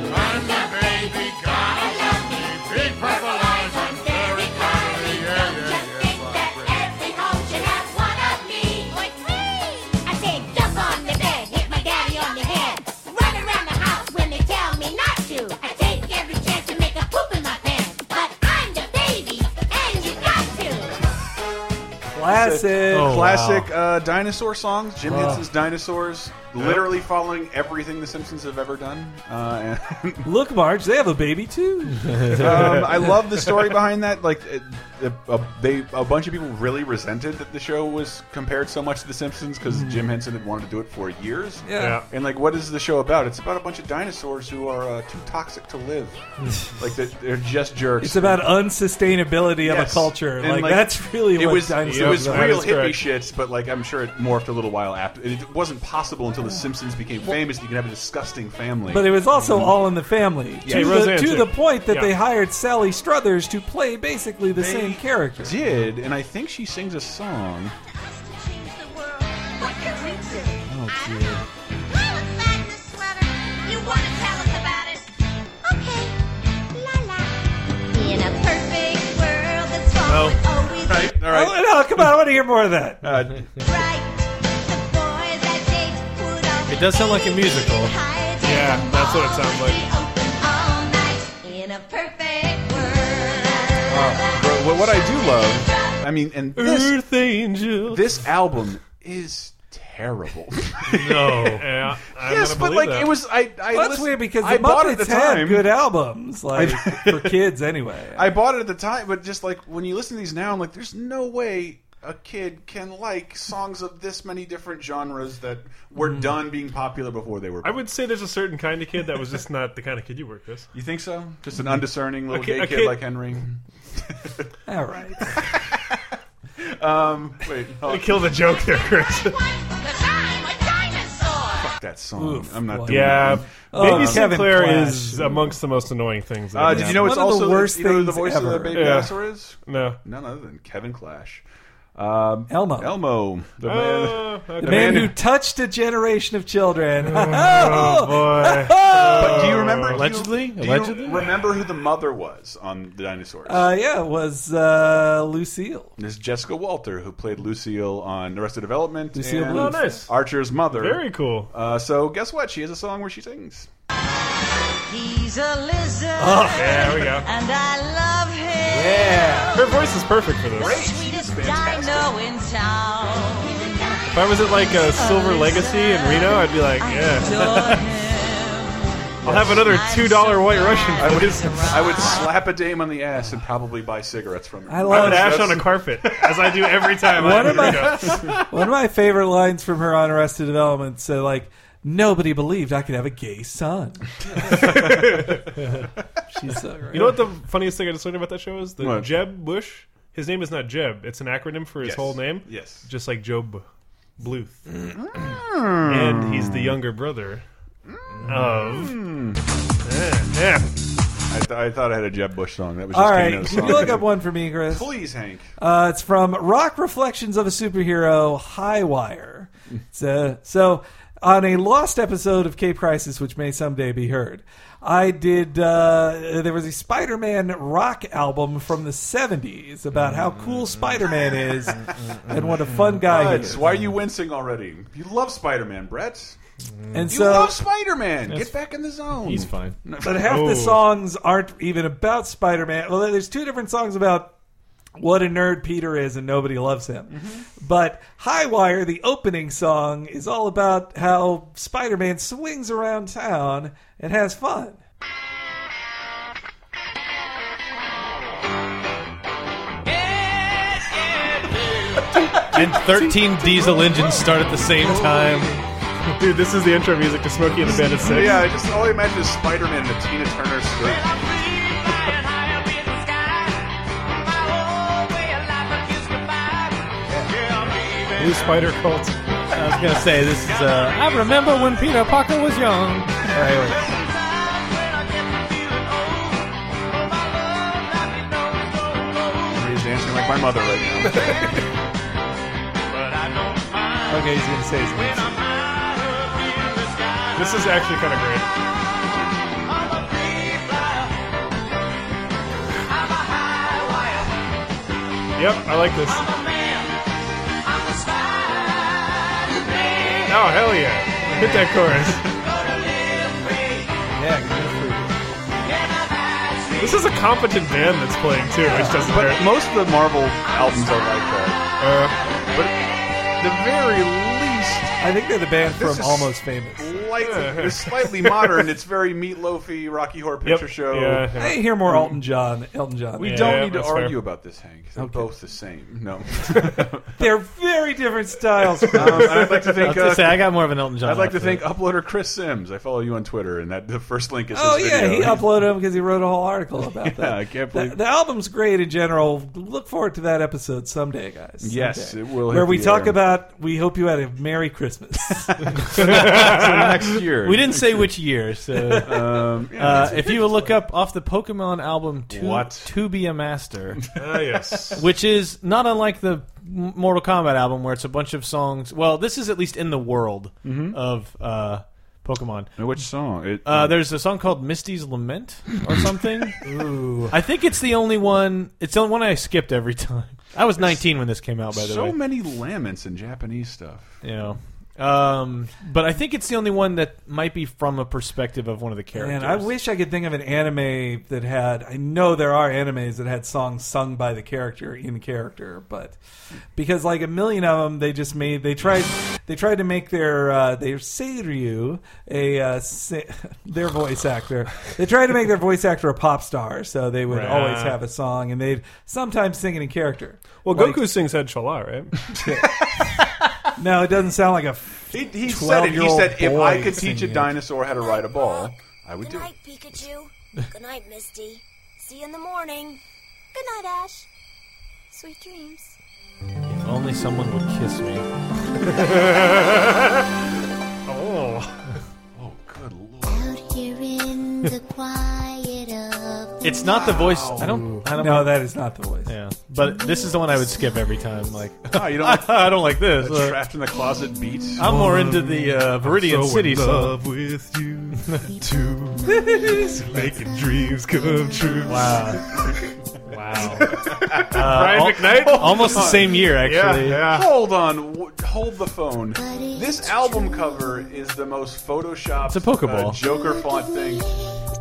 A: I'm your baby, gotta love me. Big purple eyes, I'm very cuddly. Don't you think that every home should have one of me? Like me? I said jump on the bed, hit my daddy on the head, run around the house when they tell me not to. I take every chance to make a poop in my pants, but I'm the baby and you got to.
D: Classic.
C: Classic uh, dinosaur songs. Jim Henson's Dinosaurs, literally following everything The Simpsons have ever done. Uh, and
D: Look, Marge, they have a baby too.
C: um, I love the story behind that. Like, it, it- a, they a bunch of people really resented that the show was compared so much to The Simpsons because Jim Henson had wanted to do it for years.
D: Hmm. Yeah.
C: And like, what is the show about? It's about a bunch of dinosaurs who are uh, too toxic to live. like that, they're just jerks.
D: It's about unsustainability of a
C: Yes.
D: culture.
C: And,
D: Like, that's really
C: it
D: what
C: was. It
D: dinosaurs
C: was
D: are.
C: real
E: That's
C: hippie
E: correct.
C: shits, but like I'm sure it morphed a little while after. It wasn't possible until The Simpsons became famous. that You could have a disgusting family.
D: But it was also all in the family.
E: Hey,
D: to, the,
E: Roseanne,
D: to
E: too.
D: the point that
E: Yeah.
D: they hired Sally Struthers to play basically the
C: They
D: same character.
C: did, and I think she sings a song.
A: change the world. What can we do? I don't know. I look back in the sweater. You want to tell us about it? Okay. La la. In a perfect world, that's all
C: Oh.
A: would always
C: Right,
A: be
C: all
D: Oh,
C: right.
D: no, come on, I want to hear more of that.
C: Uh,
A: right. The boys I date would always
F: It does sound like a
A: be
F: musical.
A: hired
E: Yeah,
A: in the
E: that's what it
A: mall.
E: sounds like.
A: They open
C: Uh,
E: Oh,
C: But what- what I do love, I mean, and this,
F: Earth Angel.
C: this album is terrible.
E: No. yeah, I'm
C: yes,
E: gonna
C: but
E: believe
C: like
E: that.
C: it was. I, I
D: Well, that's
C: listened-
D: weird because the
C: I bought it
D: Muppets
C: at the
D: had
C: time.
D: good albums, like for kids anyway.
C: I bought it at the time, but just like when you listen to these now, I'm like, there's no way a kid can like songs of this many different genres that were done being popular before they were.
E: I would say there's a certain kind of kid that was just not the kind of kid you were, Chris.
C: You think so? Just an undiscerning little
E: A kid-
C: gay
E: a
C: kid,
E: kid-
C: like Henry.
D: All right,
C: Wait,
E: I
C: oh,
E: killed the joke there, Chris.
C: that song. I'm not
D: boy.
C: doing
E: yeah,
C: it.
E: Baby
D: Kevin
E: Sinclair
D: Clash.
E: is amongst the most annoying things. that
C: Oh, Uh,
E: have
C: did you
E: happened.
C: know it's
D: One of the
C: also
D: worst
C: you know who the
D: things
C: voice of
D: ever.
C: the baby
E: Yeah.
C: dinosaur is?
E: No.
C: None other than Kevin Clash. Um,
D: Elmo,
C: Elmo, the Uh, man.
E: Oh, okay.
D: the man who touched a generation of children.
E: Oh, boy.
C: But do you remember? do you-
F: Allegedly?
C: do you,
F: Allegedly?
C: remember who the mother was on the dinosaurs?
D: uh, yeah, it was uh, Lucille.
C: There's Jessica Walter, who played Lucille on Arrested Development.
D: Lucille
C: and
D: Bluth.
E: Oh, nice.
C: Archer's mother.
E: Very cool.
C: Uh, so guess what? She has a song where she sings.
A: He's a lizard,
E: Oh. There we go.
A: and I love him.
D: Yeah,
E: Her voice is perfect for this.
A: Sweetest dino in town.
E: If I was at like a Silver Legacy in Reno, I'd be like, yeah,
A: Oh, Adore him.
E: I'll have another two dollar White Russian.
C: I would,
E: please.
C: I would slap a dame on the ass and probably buy cigarettes from her.
D: I
E: I
D: love
E: would
D: that.
E: ash on a carpet, as I do every time.
D: One
E: I'm
D: of
E: in Reno.
D: my one of my favorite lines from her on Arrested Development said like. Nobody believed I could have a gay son. She's so great.
E: You know what the funniest thing I just learned about that show is? The
C: What?
E: Jeb Bush. His name is not Jeb. It's an acronym for his
C: Yes.
E: whole name.
C: Yes.
E: Just like Job Bluth.
A: Mm.
E: and he's the younger brother of.
C: Mm.
E: Yeah, yeah.
C: I, th- I thought I had a Jeb Bush song. That was just
D: All right,
C: Kano's
D: can
C: song.
D: you look up one for me, Chris?
C: Please, Hank.
D: Uh, it's from Rock Reflections of a Superhero, Highwire. It's, uh, so, on a lost episode of Cape Crisis, which may someday be heard, I did. Uh, there was a Spider Man rock album from the 70s about how cool Spider Man is and what a fun guy he
C: Buds,
D: is.
C: why are you wincing already? You love Spider-Man, Brett.
D: And
C: You
D: so,
C: love Spider-Man. Get back in the zone.
F: He's fine.
D: but half
E: Oh.
D: the songs aren't even about Spider Man. Well, there's two different songs about what a nerd Peter is and nobody loves him. But Highwire, the opening song, is all about how Spider Man swings around town and has fun.
F: And 13 diesel engines start at the same time.
E: Dude, this is the intro music to Smokey and the Bandit 6.
C: Yeah, I just all I imagine is Spider-Man in a Tina Turner skirt.
E: Blue Spider Cult.
F: I was going to say, this is, uh, I remember when Peter Parker was young.
C: He's dancing like my mother right now.
D: Okay, he's going to say something.
E: This is actually kind of great. Yep, I like this. Oh, Oh, hell yeah. Hit that chorus.
D: Yeah,
E: This is a competent band that's playing too, which doesn't
C: But
E: hurt.
C: most of the Marvel albums are like that.
E: Uh,
C: But the very least,
D: I think they're the band
C: This
D: from
C: is-
D: Almost Famous.
C: lightly, it's slightly modern. It's very meatloafy, Rocky Horror
E: yep.
C: Picture Show.
E: Yeah, yeah.
D: I hear more Elton John. Elton John.
C: We
E: Yeah,
C: don't need to
E: that's fair.
C: argue about this, Hank. They're both the same. No. um,
D: They're very different styles.
C: and I'd like to
F: I was
C: thank.
F: going to say,
C: Uh,
F: I got more of an Elton John.
C: I'd like to
F: outfit.
C: thank uploader Chris Sims. I follow you on Twitter, and that the first link is.
D: Oh
C: his
D: yeah,
C: video.
D: he uploaded them because he wrote a whole article about that.
C: I can't
D: The-
C: believe-
D: the, album's great in general. Look forward to that episode someday, guys.
C: Yes,
D: Someday.
C: it will hit
D: Where we
C: the
D: talk
C: air.
D: about we hope you had a Merry Christmas.
C: next year.
F: We didn't say which year, so.
C: Um, yeah,
F: Uh, if you would look up off the Pokemon album to,
C: What?
F: to Be a Master,
E: Ah, yes.
F: which is not unlike the M- Mortal Kombat album where it's a bunch of songs. Well, this is at least in the world
D: Mm-hmm.
F: of uh, Pokemon.
C: which song? It, um,
F: Uh, there's a song called Misty's Lament or something. I think it's the only one. It's the only one I skipped every time. I was 19 when this came out, by the
C: so
F: way.
C: many laments in Japanese stuff.
F: You know. Um, but I think it's the only one that might be from a perspective of one of the characters.
D: Man, I wish I could think of an anime that had. I know there are animes that had songs sung by the character in character, but because like a million of them, they just made they tried they tried to make their uh, their seiryu a uh, se- their voice actor. They tried to make their voice actor a pop star, so they would
F: Right.
D: always have a song, and they'd sometimes sing it in character.
E: Well,
D: Like-
E: Goku sings Head Shala, right?
D: No, it doesn't sound like a. f-
C: He, he said it. He
D: 12-year-old
C: said, if I
D: boy
C: could teach a
D: singing it."
C: dinosaur how to ride a ball, I would
J: Good
C: do it.
J: night, Pikachu. Good night, Misty. See you in the morning. Good night, Ash. Sweet dreams.
F: If only someone would kiss me. oh,
C: Oh, good lord.
J: Out here in the quiet of the
F: it's not the voice. I don't. I don't.
D: No, that is not the voice.
F: Yeah, but this is the one I would skip every time. Like,
C: Ah, you don't like
F: I don't like this. Uh,
C: the trapped in the closet beats?
F: I'm more into the uh, Viridian City song.
E: with you too. Making dreams come true.
F: Wow. Wow.
E: Brian McKnight?
F: Almost the same year,
E: yeah,
F: actually.
E: yeah.
C: Hold on, w- hold the phone. This album cover is the most photoshopped
F: It's a Pokeball.
C: uh, Joker font thing.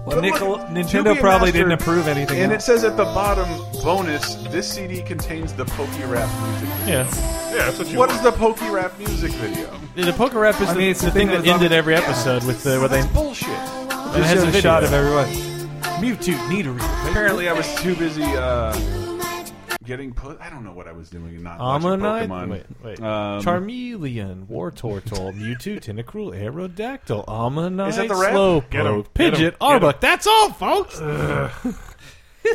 D: Well, Nickel-
C: look,
D: Nintendo
C: Tubi
D: probably
C: Master-
D: didn't approve anything.
C: And it
D: else.
C: says at the bottom, bonus, this CD contains the Pokérap music.
F: yeah.
E: Yeah, that's what you
C: What
E: want.
C: is the Pokérap music video?
F: The poker rap is
D: I
F: the,
D: mean, it's
F: the
D: the
F: thing,
D: thing that
F: that
D: was on
F: ended
D: the-
F: every episode with the, where they.
C: That's bullshit.
F: it has
D: Showed
F: a
D: a shot of
F: it.
D: everyone. Mewtwo, Nidorino.
C: Apparently, I was too busy uh, getting put. I don't know what I was doing. and Not watching
F: Ammonite,
C: Pokemon.
F: wait, wait.
C: Um,
F: Charmeleon, War Tortle, Mewtwo, Tentacruel, Aerodactyl, Ammonite,
C: Is that the rap?
E: Get 'em,
F: Slowpoke,
E: get 'em,
F: Pidgeot,
E: get 'em. Uh,
F: Arbok. That's all, folks.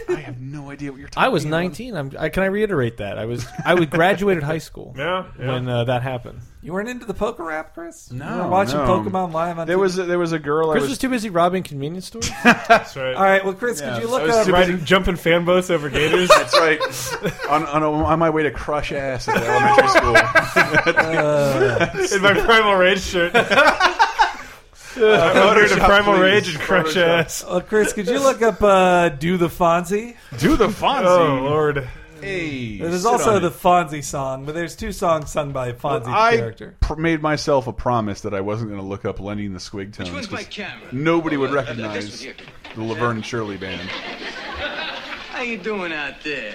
C: I have no idea what you're talking.
F: I was
C: about.
F: 19. I'm, I, can I reiterate that? I was I was graduated high school
E: Yeah, yeah.
F: when uh, that happened.
D: You weren't into the poker rap, Chris?
C: No,
D: you were watching
C: no.
D: Pokemon live on.
C: There
D: TV?
C: was a, there was a girl.
F: Chris
C: I
F: was too busy robbing convenience stores.
E: That's right.
D: All right, well, Chris,
C: Yeah,
D: could you
C: I
D: look
C: was
D: up?
C: too
E: Riding, jumping fan boats over gators.
C: That's right. on, on, on my way to crush ass at the elementary school.
E: in my Primal Rage shirt. I ordered a
C: Photoshop,
E: Primal
C: please.
E: Rage and crush
C: Photoshop.
E: ass.
D: Uh, Chris, could you look up uh, "Do the Fonzie"?
C: Do the Fonzie.
E: Oh lord.
C: Hey,
D: There's
C: sit
D: also
C: on
D: the
C: it.
D: Fonzie song, but there's two songs sung by Fonzie's
C: I
D: character.
C: pr- made myself a promise that I wasn't going to look up Lenny and the Squigtones.
K: one's my
C: 'cause
K: camera?
C: Nobody would
K: Uh, uh, this one
C: recognize
K: here.
C: the Laverne and Shirley band.
K: How you doing out there?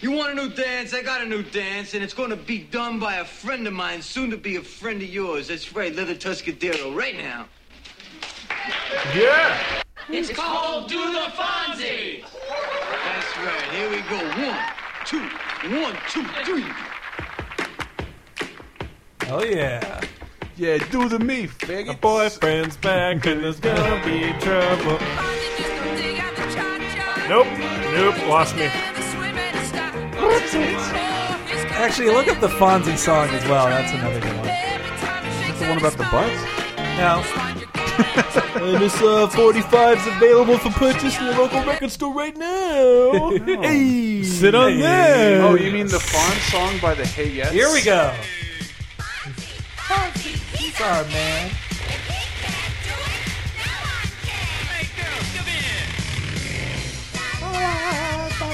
K: You want a new dance? I got a new dance, and it's going to be done by a friend of mine, soon to be a friend of yours. That's right, Leather Tuscadero, right now.
E: Yeah.
K: It's called Do the Fonzie. That's right. Here we go. One, two, one, two, three.
D: Oh yeah,
C: Yeah, do the me, faggot.
E: Boyfriend's back and there's gonna be trouble. Nope. Nope. Lost me.
D: actually, look up the Fonzie song as well. That's another good one.
C: That's the one about the butts.
D: Now,
F: and this uh, 45's available for purchase in your local record store right now. hey, sit on that.
C: Oh, you mean the Fawn song by the Hey Yes?
D: here we go. Sorry, man.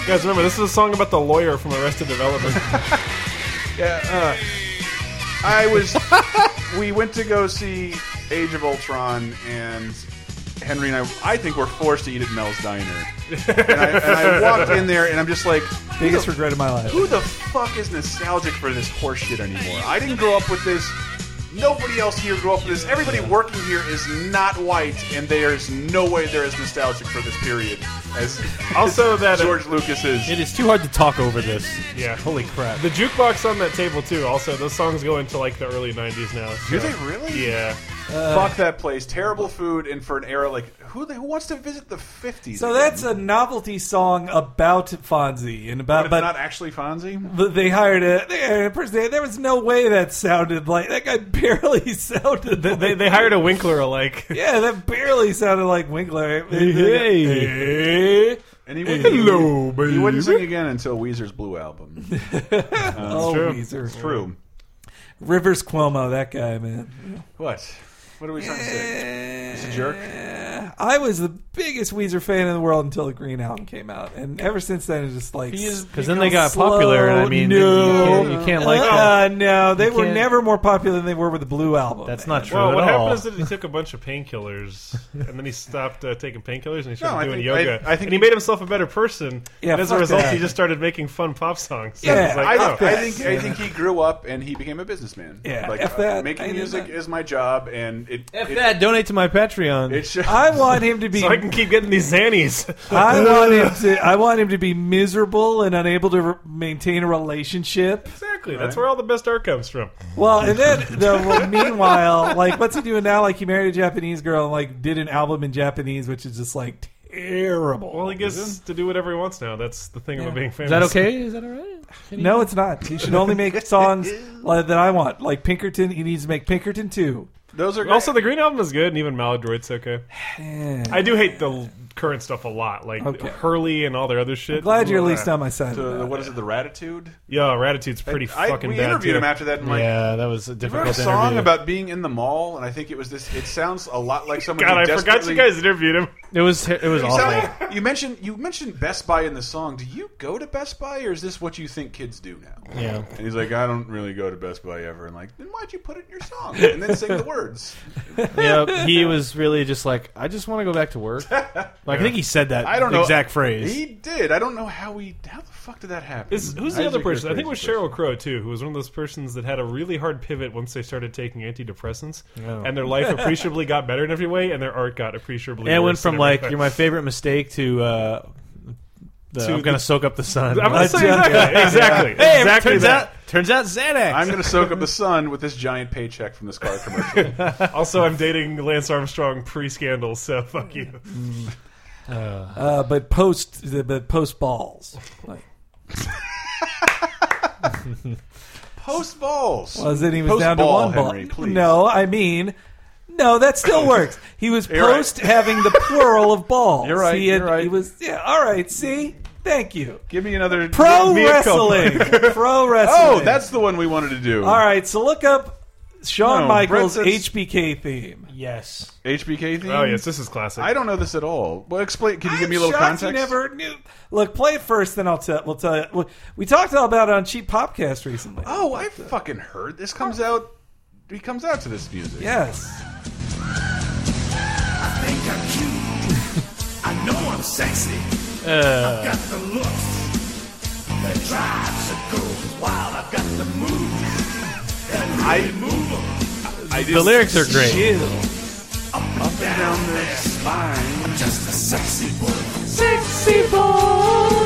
E: Guys, remember this is a song about the lawyer from Arrested Development.
C: Yeah, uh, I was. we went to go see Age of Ultron, and Henry and I, I think, were forced to eat at Mel's Diner. And I, and I walked in there, and I'm just like,
D: Biggest regret of my life.
C: who the fuck is nostalgic for this horseshit anymore? I didn't grow up with this. Nobody else here grew up with this. Everybody working here is not white, and there's no way they're as nostalgic for this period as
E: Also that-
C: George Lucas is.
F: It is too hard to talk over this.
E: yeah.
F: Holy crap.
E: The jukebox on that table too. Also, those songs go into like the early '90s now. so-
C: Do they really?
E: Yeah.
C: Fuck that place. Terrible food, and for an era like who the, who wants to visit the fifties?
D: So that's a novelty song about Fonzie and
C: but,
D: about but
C: not actually Fonzie.
D: But they hired a, they hired a person. There- There was no way that sounded like that guy. Barely sounded. They,
E: They, they hired a Winkler alike.
D: yeah, that barely sounded like Winkler. "Eh?"
F: Hey.
C: And he wouldn't, Hello, baby. He wouldn't sing again until Weezer's Blue album.
D: oh,
E: true.
D: Weezer.
C: True.
D: Rivers Cuomo, that guy, man.
C: What? What are we trying to say? He's a jerk.
D: Eh, I was the biggest Weezer fan in the world until the Green Album came out, and ever since then it's just like
F: Because then they got popular, and I mean,
D: no,
F: you, can't, you can't like
D: uh, no, they
F: You
D: were
F: can't-
D: never more popular than they were with the Blue Album.
F: That's not true
E: Well,
F: at
E: what
F: all.
E: happened is that he took a bunch of painkillers, and then he stopped uh, taking painkillers, and he started
C: No, I
E: doing
C: think-
E: yoga.
C: I- I think-
E: and he made himself a better person.
D: Yeah,
E: and as a
D: fuck
E: result,
D: that.
E: he just started making fun pop songs. So
D: Yeah,
E: it's like,
C: I,
E: oh.
C: I think I think he grew up and he became a businessman.
D: Yeah,
C: like
D: F
C: uh,
D: that, I
C: making
D: did
C: music
D: that.
C: is my job, and it
F: F
C: it,
F: that. Donate to my Patreon.
C: It should,
D: I want him to be.
E: so I can keep getting these Xannies.
D: I want him to. I want him to be miserable and unable to re- maintain a relationship.
E: exactly. That's where all the best art comes from.
D: Well, and then the well, meanwhile, like, what's he doing now? Like, he married a Japanese girl and like did an album in Japanese, which is just like terrible.
E: Well, he gets to do whatever he wants now. That's the thing
D: Yeah.
E: about being famous.
F: Is that okay? Is that all right?
D: no, it's not. He should only make songs like, that I want, like Pinkerton. He needs to make Pinkerton too.
C: those are
E: Also, the Green Album is good, and even Maladroit's okay.
D: Eh.
E: I do hate the l- current stuff a lot, like
D: Okay.
E: Hurley and all their other shit.
D: Glad you're at
E: Blah.
D: least on my side.
C: the,
D: of
C: the-
D: that.
C: what is it? The Ratitude.
E: Yeah, Ratitude's pretty
C: I,
E: fucking
C: we
E: bad.
C: interviewed
E: too.
C: him after that, and like
F: yeah, that was a
C: he wrote a
F: difficult
C: song
F: interview.
C: about being in the mall, and I think it was this. It sounds a lot like someone.
E: God,
C: who
E: I forgot
C: desperately-
E: you guys interviewed him.
F: it was it was
C: You, sound
F: awful.
C: like- you mentioned you mentioned Best Buy in the song. Do you go to Best Buy, or is this what you think kids do now?
F: Yeah.
C: And he's like, I don't really go to Best Buy ever. And like, then why'd you put it in your song and then sing the words?
F: yeah, he was really just like, I just want to go back to work. Like I think he said that.
C: I don't know
F: exact phrase.
C: He did. I don't know how he. How the fuck did that happen?
E: Is, who's the other person? I think it was Cheryl Crow too, who was one of those persons that had a really hard pivot once they started taking antidepressants,
F: Oh.
E: and their life appreciably got better in every way, and their art got appreciably.
F: Yeah, it went
E: worse in
F: from
E: every
F: like
E: way.
F: you're my favorite mistake to. Uh, the,
E: To
F: I'm gonna
E: the-
F: soak up the sun.
E: I'm gonna
F: Like,
E: say exactly, exactly,
F: Hey,
E: exactly
F: turns
E: that.
F: out turns out Xanax.
C: I'm going to soak up the sun with this giant paycheck from this car commercial.
E: Also, I'm dating Lance Armstrong pre-scandal, so fuck you.
D: Uh, but post the but post balls. Like,
C: Post balls.
D: well, then Oh, he was
C: Post
D: down to
C: ball,
D: one ball.
C: Henry, please.
D: No, I mean, no, that still works. He was
C: You're right.
D: post having the plural of balls.
C: You're right,
D: He, had,
C: you're right.
D: he was. Yeah. All right. See. Thank you.
C: Give me another
D: Pro
C: give me a couple.
D: wrestling. Pro
C: Oh,
D: wrestling.
C: that's the one we wanted to do.
D: all right. So look up Shawn
C: No,
D: Michaels
C: Brett says-
D: HBK theme.
F: yes.
C: HBK theme.
E: Oh yes, this is classic.
C: I don't know this at all. Well, explain. Can you give me a
D: I'm
C: little
D: shocked
C: context?
D: you never knew. Look, play it first, then I'll tell. We'll tell you. we- We talked all about it on Cheap Popcast recently.
C: Oh, I fucking heard this comes
D: Oh.
C: out. He comes out to this music.
D: yes.
G: think I'm cute. I know I'm sexy. I've got the looks that drives the girls wild. I've got the moves that really move 'em
C: I
F: The lyrics are great.
G: up and down, their spine. I'm just a sexy boy.
D: Sexy boy.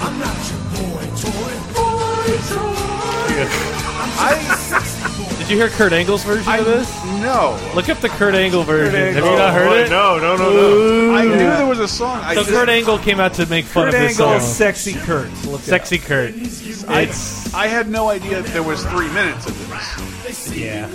G: I'm not your boy toy. Boy toy.
F: Did you hear Kurt Angle's version of this?
C: No,
F: Look up the Kurt Angle version.
C: Angle.
F: Have you not heard
E: Boy,
F: it?
E: No, no, no, no.
C: I knew there was a song. I
F: So
C: just-
F: Kurt Angle came out to make fun
D: Kurt
F: of this
D: Angle,
F: song.
D: sexy Kurt. Look it
F: Sexy
D: up.
F: Kurt.
C: I,
F: It's
C: I had no idea there was three minutes of this.
F: yeah.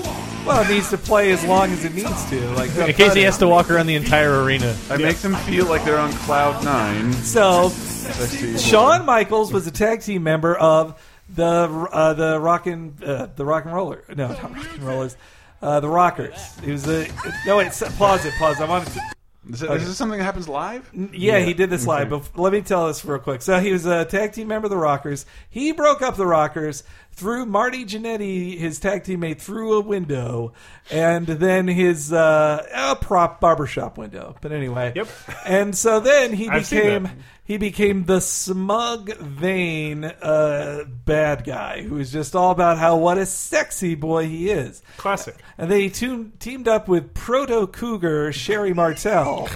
D: Well, it needs to play as long as it needs to. Like
F: In case he has to walk around the entire arena.
C: I make them feel like they're on cloud nine.
D: so.
C: Sexy.
D: Shawn Michaels was a tag team member of the uh, the rockin' uh, the rock and roller. No, not rock and rollers. Uh, the Rockers. He was a no. Wait, s- pause it. Pause. I want to.
C: Is, it- is this something that happens live?
D: Yeah, he did this live, but let me tell this real quick. So he was a tag team member of the Rockers. He broke up the Rockers, threw Marty Jannetty, his tag teammate, through a window, and then his uh, a prop barbershop window. But anyway,
E: Yep.
D: And so then he
E: I've seen
D: became
E: that.
D: he became the smug, vain uh, bad guy who was just all about how what a sexy boy he is.
E: Classic.
D: And they tuned, teamed up with proto cougar Sherry Martel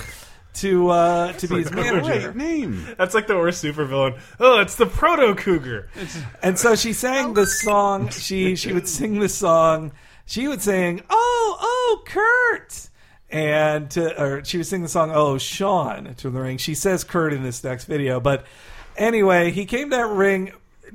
D: to uh, to be his
C: Great
D: manager.
C: name.
E: That's like the worst supervillain. Oh, it's the proto cougar.
D: And so she sang this song. She she would sing this song. She would sing, "Oh, oh, Kurt." And to, or she was singing the song "Oh, Sean" to the ring. She says Kurt in this next video, but anyway, he came that ring,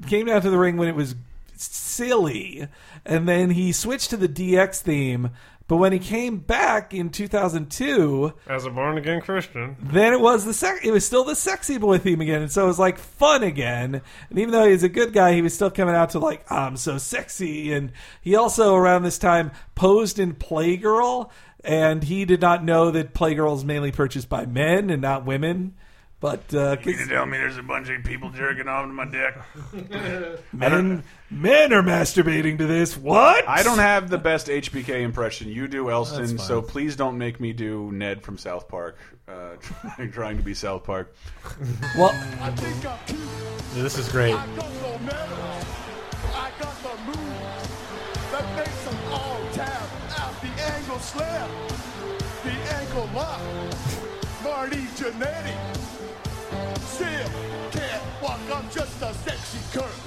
D: came down to the ring when it was silly, and then he switched to the DX theme. But when he came back in 2002,
E: As a born again Christian,
D: then it was the sec- it was still the sexy boy theme again, and so it was like fun again. And even though he was a good guy, he was still coming out to like I'm so sexy. And he also around this time posed in Playgirl, and he did not know that Playgirl is mainly purchased by men and not women. But uh, 'cause
C: You mean to tell me there's a bunch of people jerking off to my dick?
D: men, men are masturbating to this. What?
C: I don't have the best HBK impression. You do, Elston. So please don't make me do Ned from South Park, uh, trying, trying to be South Park.
D: Well,
F: This is great.
A: Just a sexy curve.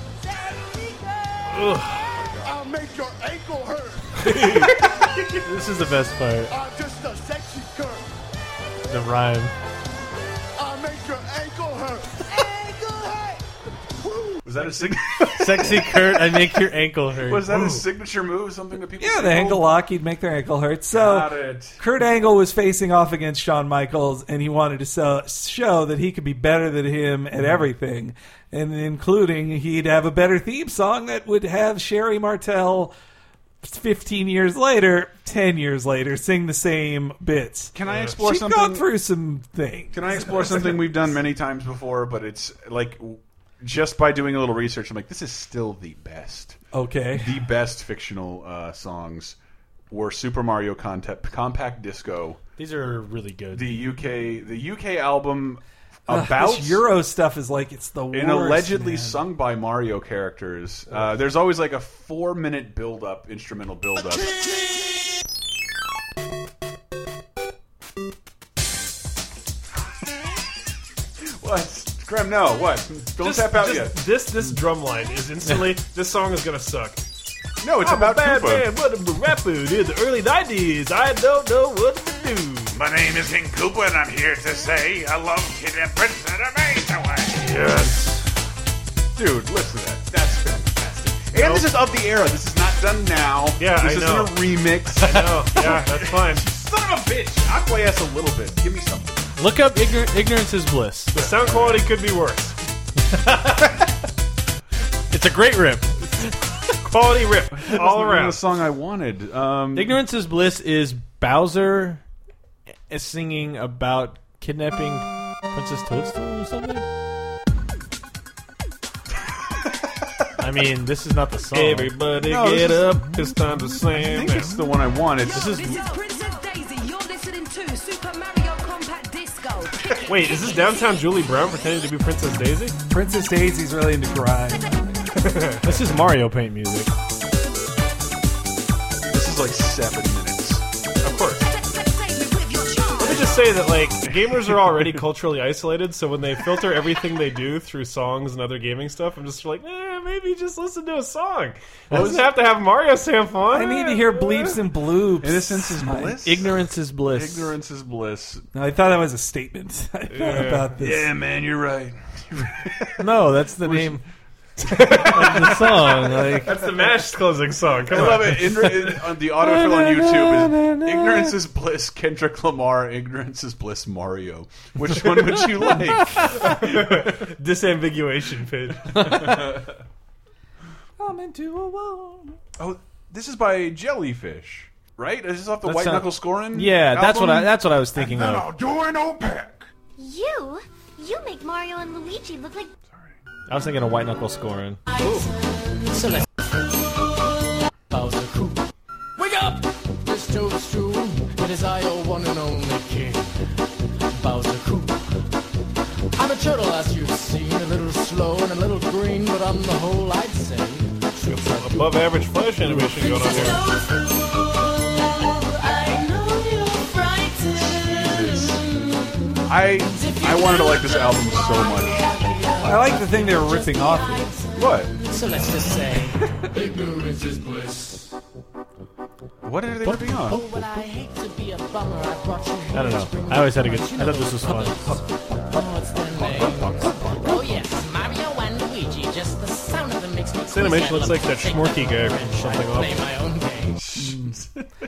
A: I'll make your ankle hurt.
F: This is the best part.
A: I'm just a sexy curve.
F: The rhyme.
A: I'll make your ankle hurt. ankle hurt.
C: Was that a sig-
F: Sexy Kurt, I make your ankle hurt.
C: Was that his signature move? Something that people
D: yeah,
C: say,
D: the
C: "Oh,
D: ankle lock, he'd make their ankle hurt.
C: Got
D: So
C: it.
D: Kurt Angle was facing off against Shawn Michaels, and he wanted to so, show that he could be better than him
C: Mm-hmm.
D: at everything, and including he'd have a better theme song that would have Sherry Martel. 15 years later, 10 years later, sing the same bits.
C: Can I explore
D: She's
C: something?
D: gone through some things.
C: Can I explore something we've done many times before? But it's like w- just by doing a little research, I'm like, this is still the best.
D: Okay.
C: the best fictional uh, songs were Super Mario Conte- Compact Disco,
F: These are really good.
C: the UK the UK album
D: Ugh,
C: about
D: this Euro stuff is like it's the worst.
C: and allegedly
D: man.
C: sung by Mario characters. Uh, there's always like a four minute build up, instrumental build up. what? Graham, no, what? Don't tap out yet.
E: This this drum line is instantly. this song is gonna suck.
C: No, it's about
E: bad
C: Koopa.
E: man, what a rapper in the early '90s. I don't know what to do.
B: My name is King Koopa, and I'm here to say hello to the Prince of the Mazeway.
C: Dude, listen to that. That's fantastic. And this is of the era. This is not done now.
E: Yeah,
C: this
E: I
C: isn't
E: know.
C: a remix.
E: No, Oh, yeah, that's fine.
C: Son of a bitch. Aqua ass a little bit. Give me something.
F: Look up Ignor- Ignorance is Bliss.
E: The sound quality could be worse.
F: It's a great rip.
E: Quality rip all
C: The
E: around.
C: song I wanted. Um,
F: Ignorance is Bliss is Bowser is singing about kidnapping Princess Toadstool or something? I mean, this is not the song.
E: Everybody
C: No, this
E: get
C: is-
E: up! It's time to
C: I
E: slam.
C: think it's the one I wanted. This is
L: This is Princess Daisy. You're listening to Super Mario Compact Disco. Kick it,
E: Wait,
L: kick
E: is this
L: it,
E: downtown
L: kick it.
E: Julie Brown pretending to be Princess Daisy?
D: Princess Daisy's really into grind.
F: This is Mario Paint music.
C: this is like seven minutes.
E: Of course.
L: Save me with your charm.
E: Let me just say that like gamers are already culturally isolated, so when they filter everything they do through songs and other gaming stuff, I'm just like, eh, maybe just listen to a song. It doesn't have to have Mario sample.
D: I need to hear bleeps and bloops.
C: Innocence is
D: I-
C: bliss.
F: Ignorance is Bliss.
C: Ignorance is bliss.
D: No, I thought that was a statement. I thought about this.
C: Yeah, man, you're right.
F: No, that's the name of the song. Like,
E: That's the Mash closing song. Come
C: I
E: on.
C: love it. In, in, on the autofill on YouTube is "Ignorance is Bliss." Kendrick Lamar, "Ignorance is Bliss." Mario. Which one would you like?
E: Disambiguation page.
D: I'm into a wall.
C: Oh, this is by Jellyfish, right? Is this off the
F: That's
C: White
F: not-
C: Knuckle Scoring?
F: yeah, that's what I
C: album?
F: that's what I was thinking
B: Then
F: of.
B: I'll do an OPEC.
J: You? You make Mario and Luigi look like
F: I was thinking of White Knuckle scoring.
G: Wake up! This toadstool, it is I, your one and only king, Bowser Koopa. I'm a turtle, as you've seen, a little slow and a little green, but on the whole, I'd say.
E: Above average flash animation going on here.
C: I I wanted to like this album so much.
D: I like the thing they were ripping off. of.
C: What?
G: So let's just say,
C: What are they ripping off?
G: oh, but I hate to be a bummer, I brought you
F: I don't know. I always had a good. I thought this was fun.
G: what's their name? Oh, yes, Mario and Luigi, just the sound of them makes me
E: This animation looks like that Schmorky guy from something
G: play
E: off.
G: my own game.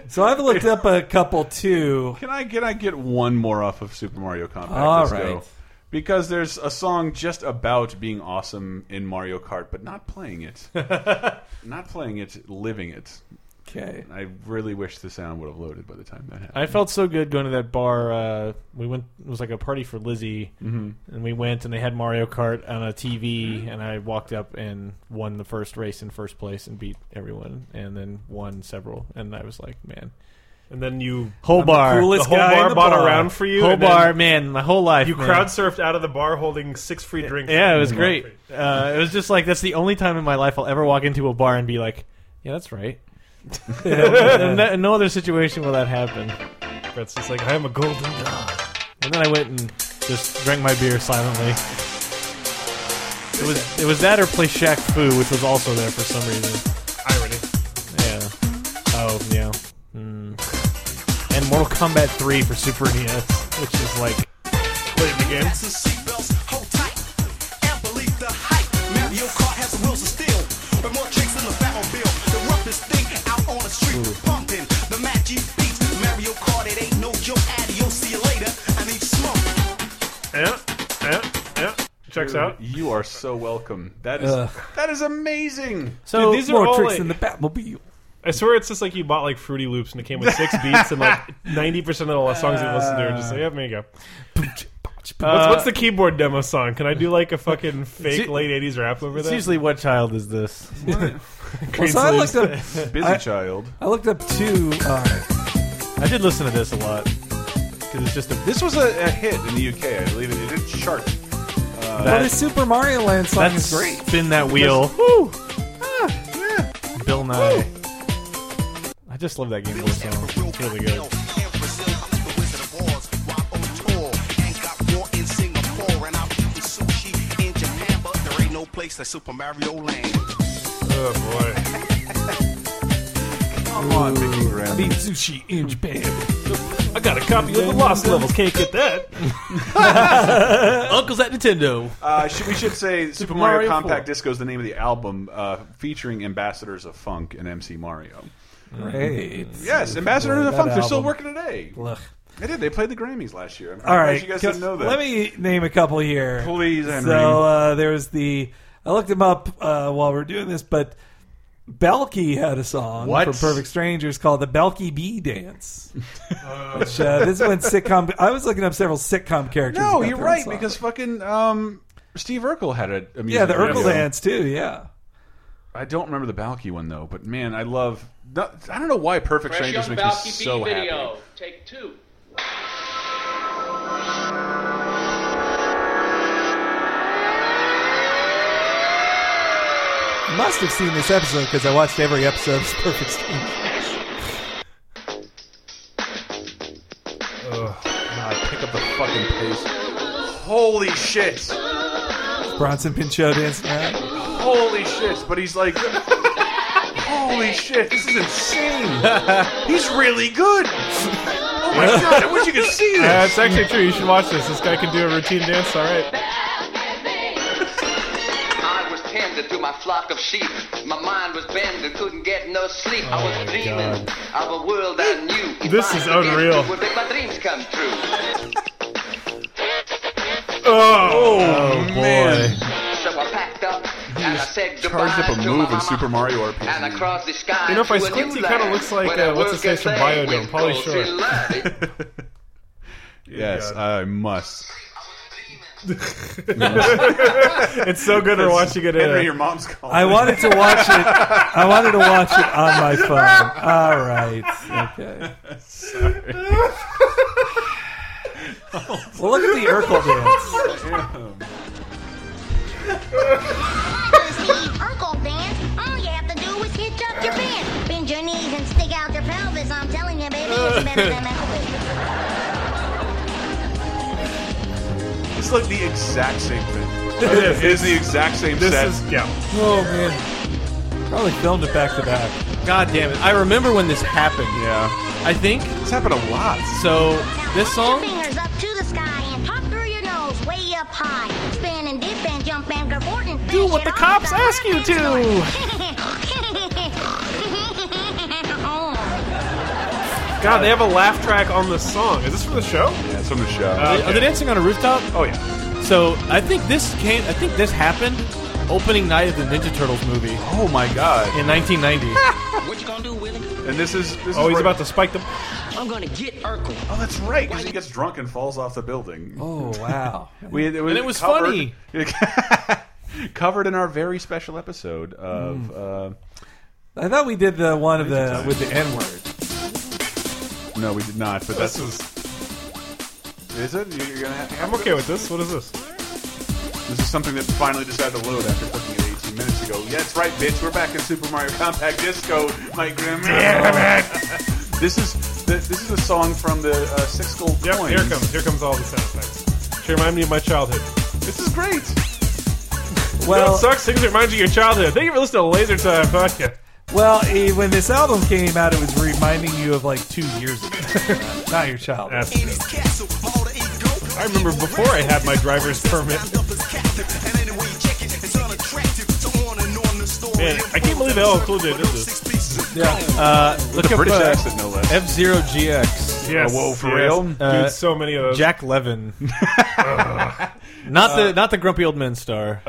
D: So I've looked up a couple too.
C: Can I can I get one more off of Super Mario Compact?
D: All
C: Let's
D: right.
C: go. Because there's a song just about being awesome in Mario Kart, but not playing it, not playing it, living it.
D: Okay.
C: I really wish the sound would have loaded by the time that happened.
F: I felt so good going to that bar. Uh, we went; it was like a party for Lizzie,
C: Mhm.
E: Mm-hmm.
F: and we went, and they had Mario Kart on a TV, and I walked up and won the first race in first place and beat everyone, and then won several, and I was like, man.
E: And then you
F: whole
E: I'm the
F: bar,
E: coolest The whole guy in bar the bought a bar. round for you,
F: Whole
E: and then
F: bar, man, my whole life.
E: You
F: man.
E: crowd surfed out of the bar holding six free drinks.
F: Yeah, it was great. Uh, it was just like that's the only time in my life I'll ever walk into a bar and be like, "Yeah, that's right." in, that- in no other situation will that happen.
E: Brett's just like, "I'm a golden god,"
F: and then I went and just drank my beer silently. It was it was that or play Shaq Fu, which was also there for some reason.
E: Irony.
F: Yeah. Oh yeah. Hmm. And Mortal Kombat 3 for Super NES, which is like
E: play the game.
M: Mario Kart has wheels of steel, with more tricks than the Batmobile. The roughest thing out on the street, pumping the magic beats. Mario Kart, it ain't no joke. Adios, see you later. I need smoke.
E: Yeah, yeah, yeah. Eh, Checks
C: Dude,
E: out.
C: You are so welcome. That is
E: Ugh.
C: that is amazing.
E: Dude, these are all like,
D: Batmobile.
E: I swear it's just like you bought like Fruity Loops and it came with six beats and like ninety percent of all the songs you listen to are just like, yeah, there you go.
F: Uh,
E: what's, what's the keyboard demo song? Can I do like a fucking fake
F: u-
E: late '80s rap over
F: It's
E: that?
F: usually what child is this?
D: Well, so I looked up I-
C: child.
D: I looked up two. Uh,
F: I did listen to this a lot because it's just a.
C: This was a, a hit in the UK, I believe. It, it did chart. Uh,
D: well, the Super Mario Land song
F: That's
D: is great.
F: Spin that wheel. Woo! Bill Nye. I just love that game boy song. It's really good.
M: There ain't no place like Super Mario Land.
E: Oh
C: Come on, Mickey Graham.
D: Beat sushi in Japan.
E: boy, I got a copy of the Lost Levels. Can't get that.
F: Uncle's at Nintendo.
C: Uh, should, we should say Super,
F: Super
C: Mario,
F: Mario
C: Compact
F: 4.
C: Disco is the name of the album uh, featuring Ambassadors of Funk and MC Mario.
D: Right.
C: Yes, Ambassadors of
D: That
C: Funk. They're still
D: album.
C: working today.
D: Ugh.
C: They did. They played the Grammys last year. I'm
D: All
C: surprised
D: right,
C: You guys
D: go-
C: didn't know that.
D: Let me name a couple here,
C: Please, Henry.
D: So uh, there was the I looked him up uh, while we are doing this, but Belky had a song
C: What?
D: from Perfect Strangers called the Belky Bee Dance. which, uh, this is when sitcom. I was looking up several sitcom characters.
C: No,
D: about
C: you're
D: their
C: right
D: song.
C: because fucking um, Steve Urkel had a, a music
D: yeah, the
C: video.
D: Urkel dance too. Yeah,
C: I don't remember the Balky one though, but man, I love. no- I don't know why Perfect
N: Fresh
C: Strangers
N: Young
C: makes me
N: Balky
C: so
N: B
C: happy.
N: video. Take two.
D: must have seen this episode because I watched every episode of Perfect Strangers.
C: Ugh, God, pick up the fucking pace. Holy shit!
D: Bronson Pinchot dancing around.
C: Holy shit! But he's like, holy shit! This is insane. he's really good. Oh my god! I wish you could see
E: Uh,
C: this.
E: it's actually true. You should watch this. This guy can do a routine dance. All right.
N: I was tending to my flock of sheep. My mind was bending, couldn't get no sleep. I
C: Oh
N: was dreaming of a world I knew. If
E: This
N: I
E: is
N: could get
E: unreal.
N: it would make my dreams come true.
E: Oh,
C: man.
N: So I packed up and I said
C: Charged
N: goodbye
C: up a
N: to
C: move
N: my
C: in Super Mario
N: and
C: RPG.
N: across the sky.
E: You know, if I
N: to a
E: squint,
N: new
E: he kind of
N: land
E: looks like
N: where
E: uh, what's
N: the
E: his face from
N: world can
E: Biodome, Polly
N: play with
E: Short.
N: culture and learning.
C: Yes,
D: Oh
C: I must.
E: it's so good. We're watching it.
C: Henry,
E: Uh,
C: your mom's calling.
D: I wanted to watch it. I wanted to watch it on my phone. All right. Okay. well, look at the Urkel dance.
A: Urkel dance, all you have to do is hitch up your pants, bend your knees and stick out your pelvis. I'm telling you, baby, it's better than that.
C: It's like the exact same thing.
E: It is.
C: It is the exact same
E: this
C: set.
E: is yeah.
D: Oh man. Probably filmed it back to back.
F: God damn it! I remember when this happened.
C: yeah,
F: I think
C: it's happened a lot.
F: so. This
A: Your
F: song.
A: fingers up to the sky and pop through your nose way up high. Spin and dip and jump and cavort and
F: Do what the cops ask you to.
E: God, they have a laugh track on this song. Is this from the show?
C: Yeah, it's from the show.
E: Uh,
F: Are they dancing on a rooftop?
E: Oh yeah.
F: So I think this came. I think this happened, opening night of the Ninja Turtles movie.
C: Oh my god!
F: In 1990.
A: What you gonna do, Willie?
C: And this is this
F: Oh,
C: is
F: he's
C: where-
F: about to spike the.
A: I'm gonna get Urkel.
C: Oh, that's right. Because he gets drunk and falls off the building.
D: Oh wow!
C: we, it was
F: And it was
C: covered, funny. covered in our very special episode of. uh,
D: I thought we did the one of the with the N word.
C: Uh, no, we did not. But that's.
E: This
C: Is it? You're gonna have to.
E: I'm okay with this. What is this?
C: This is something that finally decided to load after clicking it 18 minutes ago. Yeah, that's right, bitch. We're back in Super Mario Compact Disco. My grandma.
E: Damn
C: this is the, this is a song from the uh, Six Gold
E: Yep,
C: Coins.
E: here it comes. Here comes all the sound effects. She remind me of my childhood.
C: This is great.
E: Well,
D: Well-
E: it sucks. Things remind you of your childhood. Thank you for listening to Laser Time. Fuck you.
D: Well, eh, when this album came out, it was reminding you of like two years ago, not your child.
E: I remember before I had my driver's permit. Man, I can't believe LL Cool J did this.
F: Yeah. Uh, look
E: a
F: up
E: British
F: uh,
E: accent, no less.
F: F Zero GX.
E: Yes, Oh, whoa, for yes. real? Dude,
F: Uh,
E: so many of those.
F: Jack Levin. not the not the grumpy old men star.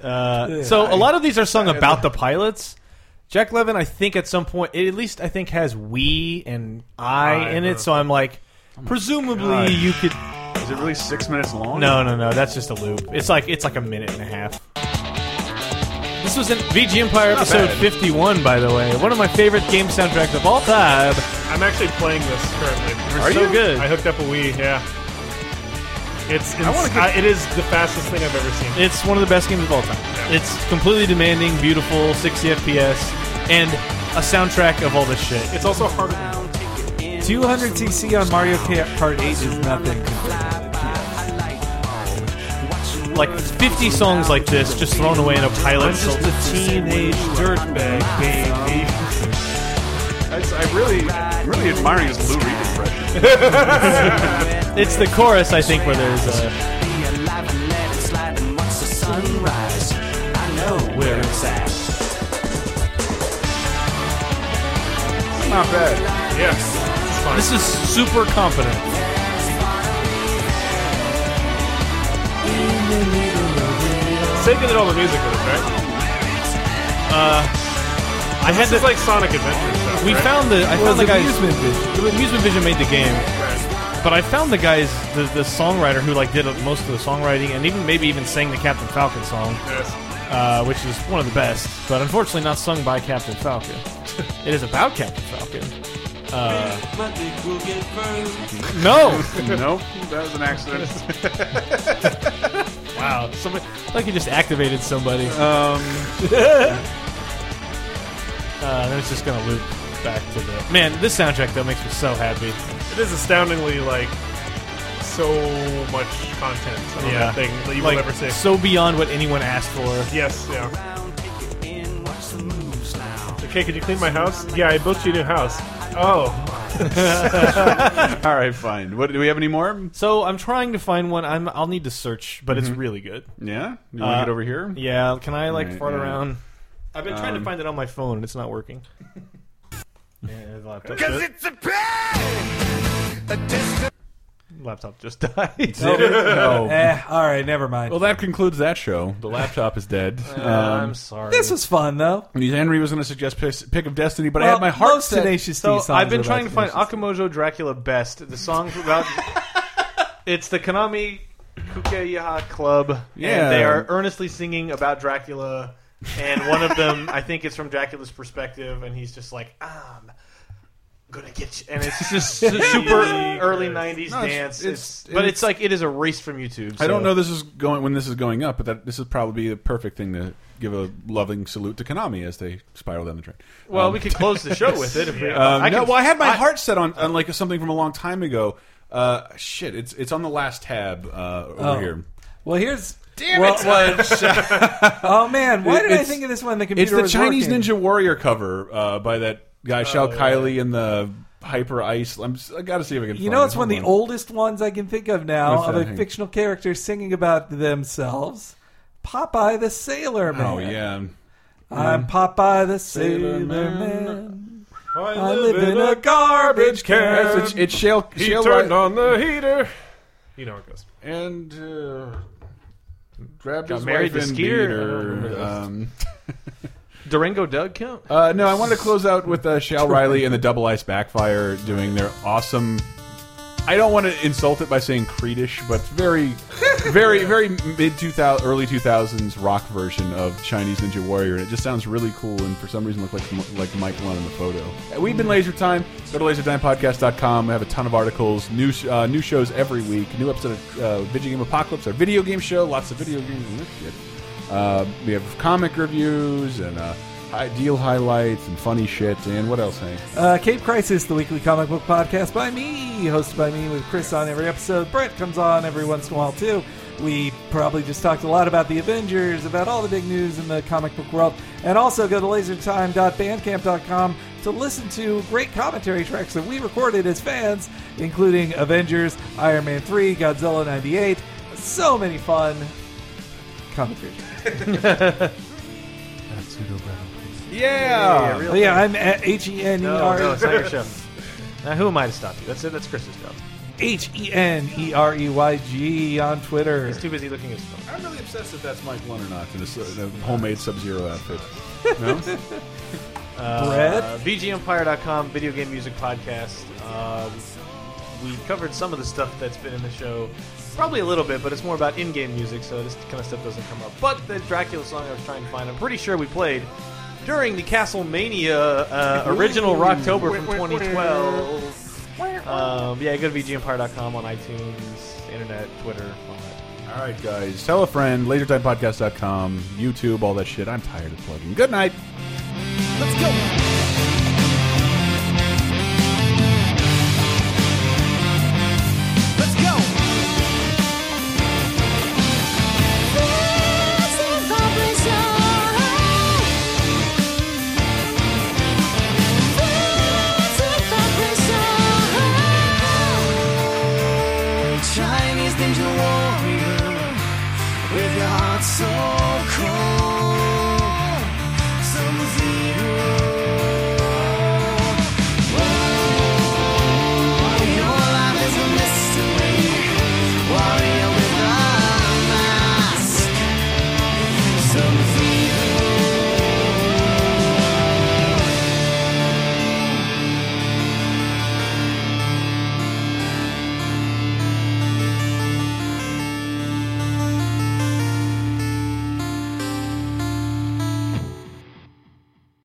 F: Uh, so a lot of these are sung about the pilots. Jack Levin, I think at some point, it at least I think has we and I
C: I,
F: in
C: uh,
F: it. So I'm like, presumably
C: God.
F: you could.
C: Is it really six minutes long?
F: No, no, no. That's just a loop. It's like it's like a minute and a half. This was in VG Empire
E: Not
F: episode
E: bad.
F: 51, by the way. One of my favorite game soundtracks of all time.
E: I'm actually playing this currently. We're
F: Are
E: so
F: you?
E: good. I hooked up a Wii. Yeah. It's ins-
F: I wanna get-
E: I- it is the fastest thing I've ever seen.
F: It's one of the best games of all time. It's completely demanding, beautiful, 60 FPS, and a soundtrack of all this shit.
E: It's also harder.
D: 200 cc on Mario Kart 8 is nothing. compared to
F: Like 50 songs like this just thrown away in a pilot.
E: teenage dirtbag baby.
C: I, I really, really admiring his Lou Reed impression.
F: it's the chorus, I think, where there's a.
A: Where it's at. Not bad.
E: Yes.
F: This is super confident.
E: Sega did all the music for this, right?
F: Uh, I had
E: This is
F: to.
E: like Sonic Adventure stuff.
F: We
E: right?
F: found the. I
D: Well,
F: found the
D: it's
F: guys.
D: Amusement Vision.
F: the Amusement Vision made the game, but I found the guys, the, the songwriter who like did most of the songwriting and even maybe even sang the Captain Falcon song.
E: Yes.
F: uh, which is one of the best, but unfortunately not sung by Captain Falcon. it is about Captain Falcon. Uh, no,
C: nope, that was an accident.
F: wow, somebody like you just activated somebody.
C: Um,
F: Uh, then it's just gonna loop back to the man. This soundtrack though makes me so happy.
E: It is astoundingly like so much content on that thing that you
F: like,
E: will never see.
F: so beyond what anyone asked for.
E: yes, yeah. Okay, could you clean my house? Yeah, I built you a new house. Oh,
C: all right, fine. What do we have any more?
F: So I'm trying to find one. I'm I'll need to search, but
D: Mm-hmm.
F: it's really good.
C: Yeah, you want to
F: Uh,
C: get over here?
F: Yeah, can I like
C: Right,
F: fart
C: yeah.
F: around? I've been trying to
C: Um,
F: find it on my phone and it's not working. yeah, the laptop.
A: it's a pig! A distant
F: laptop just died.
D: that. Eh, all right, never mind.
C: Well, that concludes that show. The laptop is dead.
F: Uh,
C: Um,
F: I'm sorry.
D: Um, this was fun though.
C: Henry was going to suggest pis- pick of Destiny, but I
D: Well,
C: had my heart
D: most
C: set.
D: Tenacious D
F: so
D: songs
F: I've been
D: are
F: trying to
D: about
F: find
D: Tenacious
F: Akamojo Dracula Best, the song about. it's the Konami Kukeyaha Club.
C: Yeah.
F: And they are earnestly singing about Dracula. And one of them, I think it's from Dracula's perspective, and he's just like, I'm gonna get you. And it's just su- super early 90s
C: No, it's-
F: dance.
C: it's-
F: It's, but
C: it's-
F: it's like, it is erased from YouTube.
C: I don't
F: so-
C: know this is going when this is going up, but that this is probably the perfect thing to give a loving salute to Konami as they spiral down the train.
F: Well,
C: Um,
F: we could close the show with it. If we,
C: Um,
F: I
C: no,
F: can-
C: well, I had my heart set on, on like something from a long time ago. Uh, shit, it's it's on the last tab uh, over
D: Oh.
C: here.
D: Well, here's.
C: Damn
D: well, uh,
C: it!
D: well, oh man, why did I
C: It's-
D: think of this one? The
C: It's
D: computer.
C: the
D: was
C: Chinese
D: working. Oh,
C: Ninja Warrior cover uh, by that guy Shao Kylie and the Hyper Ice. I'm, si got to see if I can.
D: You
C: find
D: know,
C: it.
D: it's one of the
C: Hold
D: oldest ones I can think of now
C: What's
D: of
C: that?
D: a
C: Hang on.
D: fictional character singing about themselves. Popeye the Sailor Man.
C: on. Oh yeah.
D: I'm Popeye the Sailor
C: Man.
D: Man. I live in a garbage can.
C: It's, it's Shale.
E: he
C: Shale
E: turned
C: Ri-
E: on the heater. You know how it goes.
C: and uh, grabbed
E: Got
C: his
E: married
C: wife
E: to
C: and
E: Skeeter.
C: beat her,
D: Oh,
E: I don't remember that.
C: um,
E: Durango Doug count?
C: Uh, no, I want to close out with uh, Shal Riley and the Double Ice Backfire doing their awesome. I don't want to insult it by saying Creedish, but very, very, very mid two thousand, early two thousands rock version of Chinese Ninja Warrior, and it just sounds really cool. And for some reason, looked like like Mike Lund in the photo. We've been Laser Time. Go to lasertimepodcast.com. We have a ton of articles, new sh- uh, new shows every week, new episode of uh, Video Game Apocalypse, our video game show, lots of video games and this shit. Uh, we have comic reviews and uh, hi- deal highlights and funny shit. And what else, Hank?
D: Uh, Cape Crisis, the weekly comic book podcast by me, hosted by me with Chris on every episode. Brett comes on every once in a while, too. We probably just talked a lot about the Avengers, about all the big news in the comic book world. And also go to lasertime.bandcamp.com to listen to great commentary tracks that we recorded as fans, including Avengers, Iron Man 3, Godzilla 98. So many fun commentary tracks.
E: Yeah, real
D: yeah,
E: thing.
D: I'm at H E N E
E: No,
D: R.
E: no, it's not your show. Now, who am I to stop you? That's it. That's Chris's job.
D: H E N E R E Y G on Twitter.
E: He's too busy looking at his phone.
C: I'm really obsessed if that's Mike Lund or not in a, homemade Sub Zero outfit. No?
E: Uh, VGEmpire.com, video game music podcast. Um, we covered some of the stuff that's been in the show, probably a little bit, but it's more about in-game music, so this kind of stuff doesn't come up. But the Dracula song I was trying to find, I'm pretty sure we played during the Castlemania uh, original Rocktober from 2012. Um, yeah, go to VGEmpire.com on iTunes, internet, Twitter, all that.
C: All right, guys. Tell a friend, lasertimepodcast.com, YouTube, all that shit. I'm tired of plugging. Good night.
O: Let's go.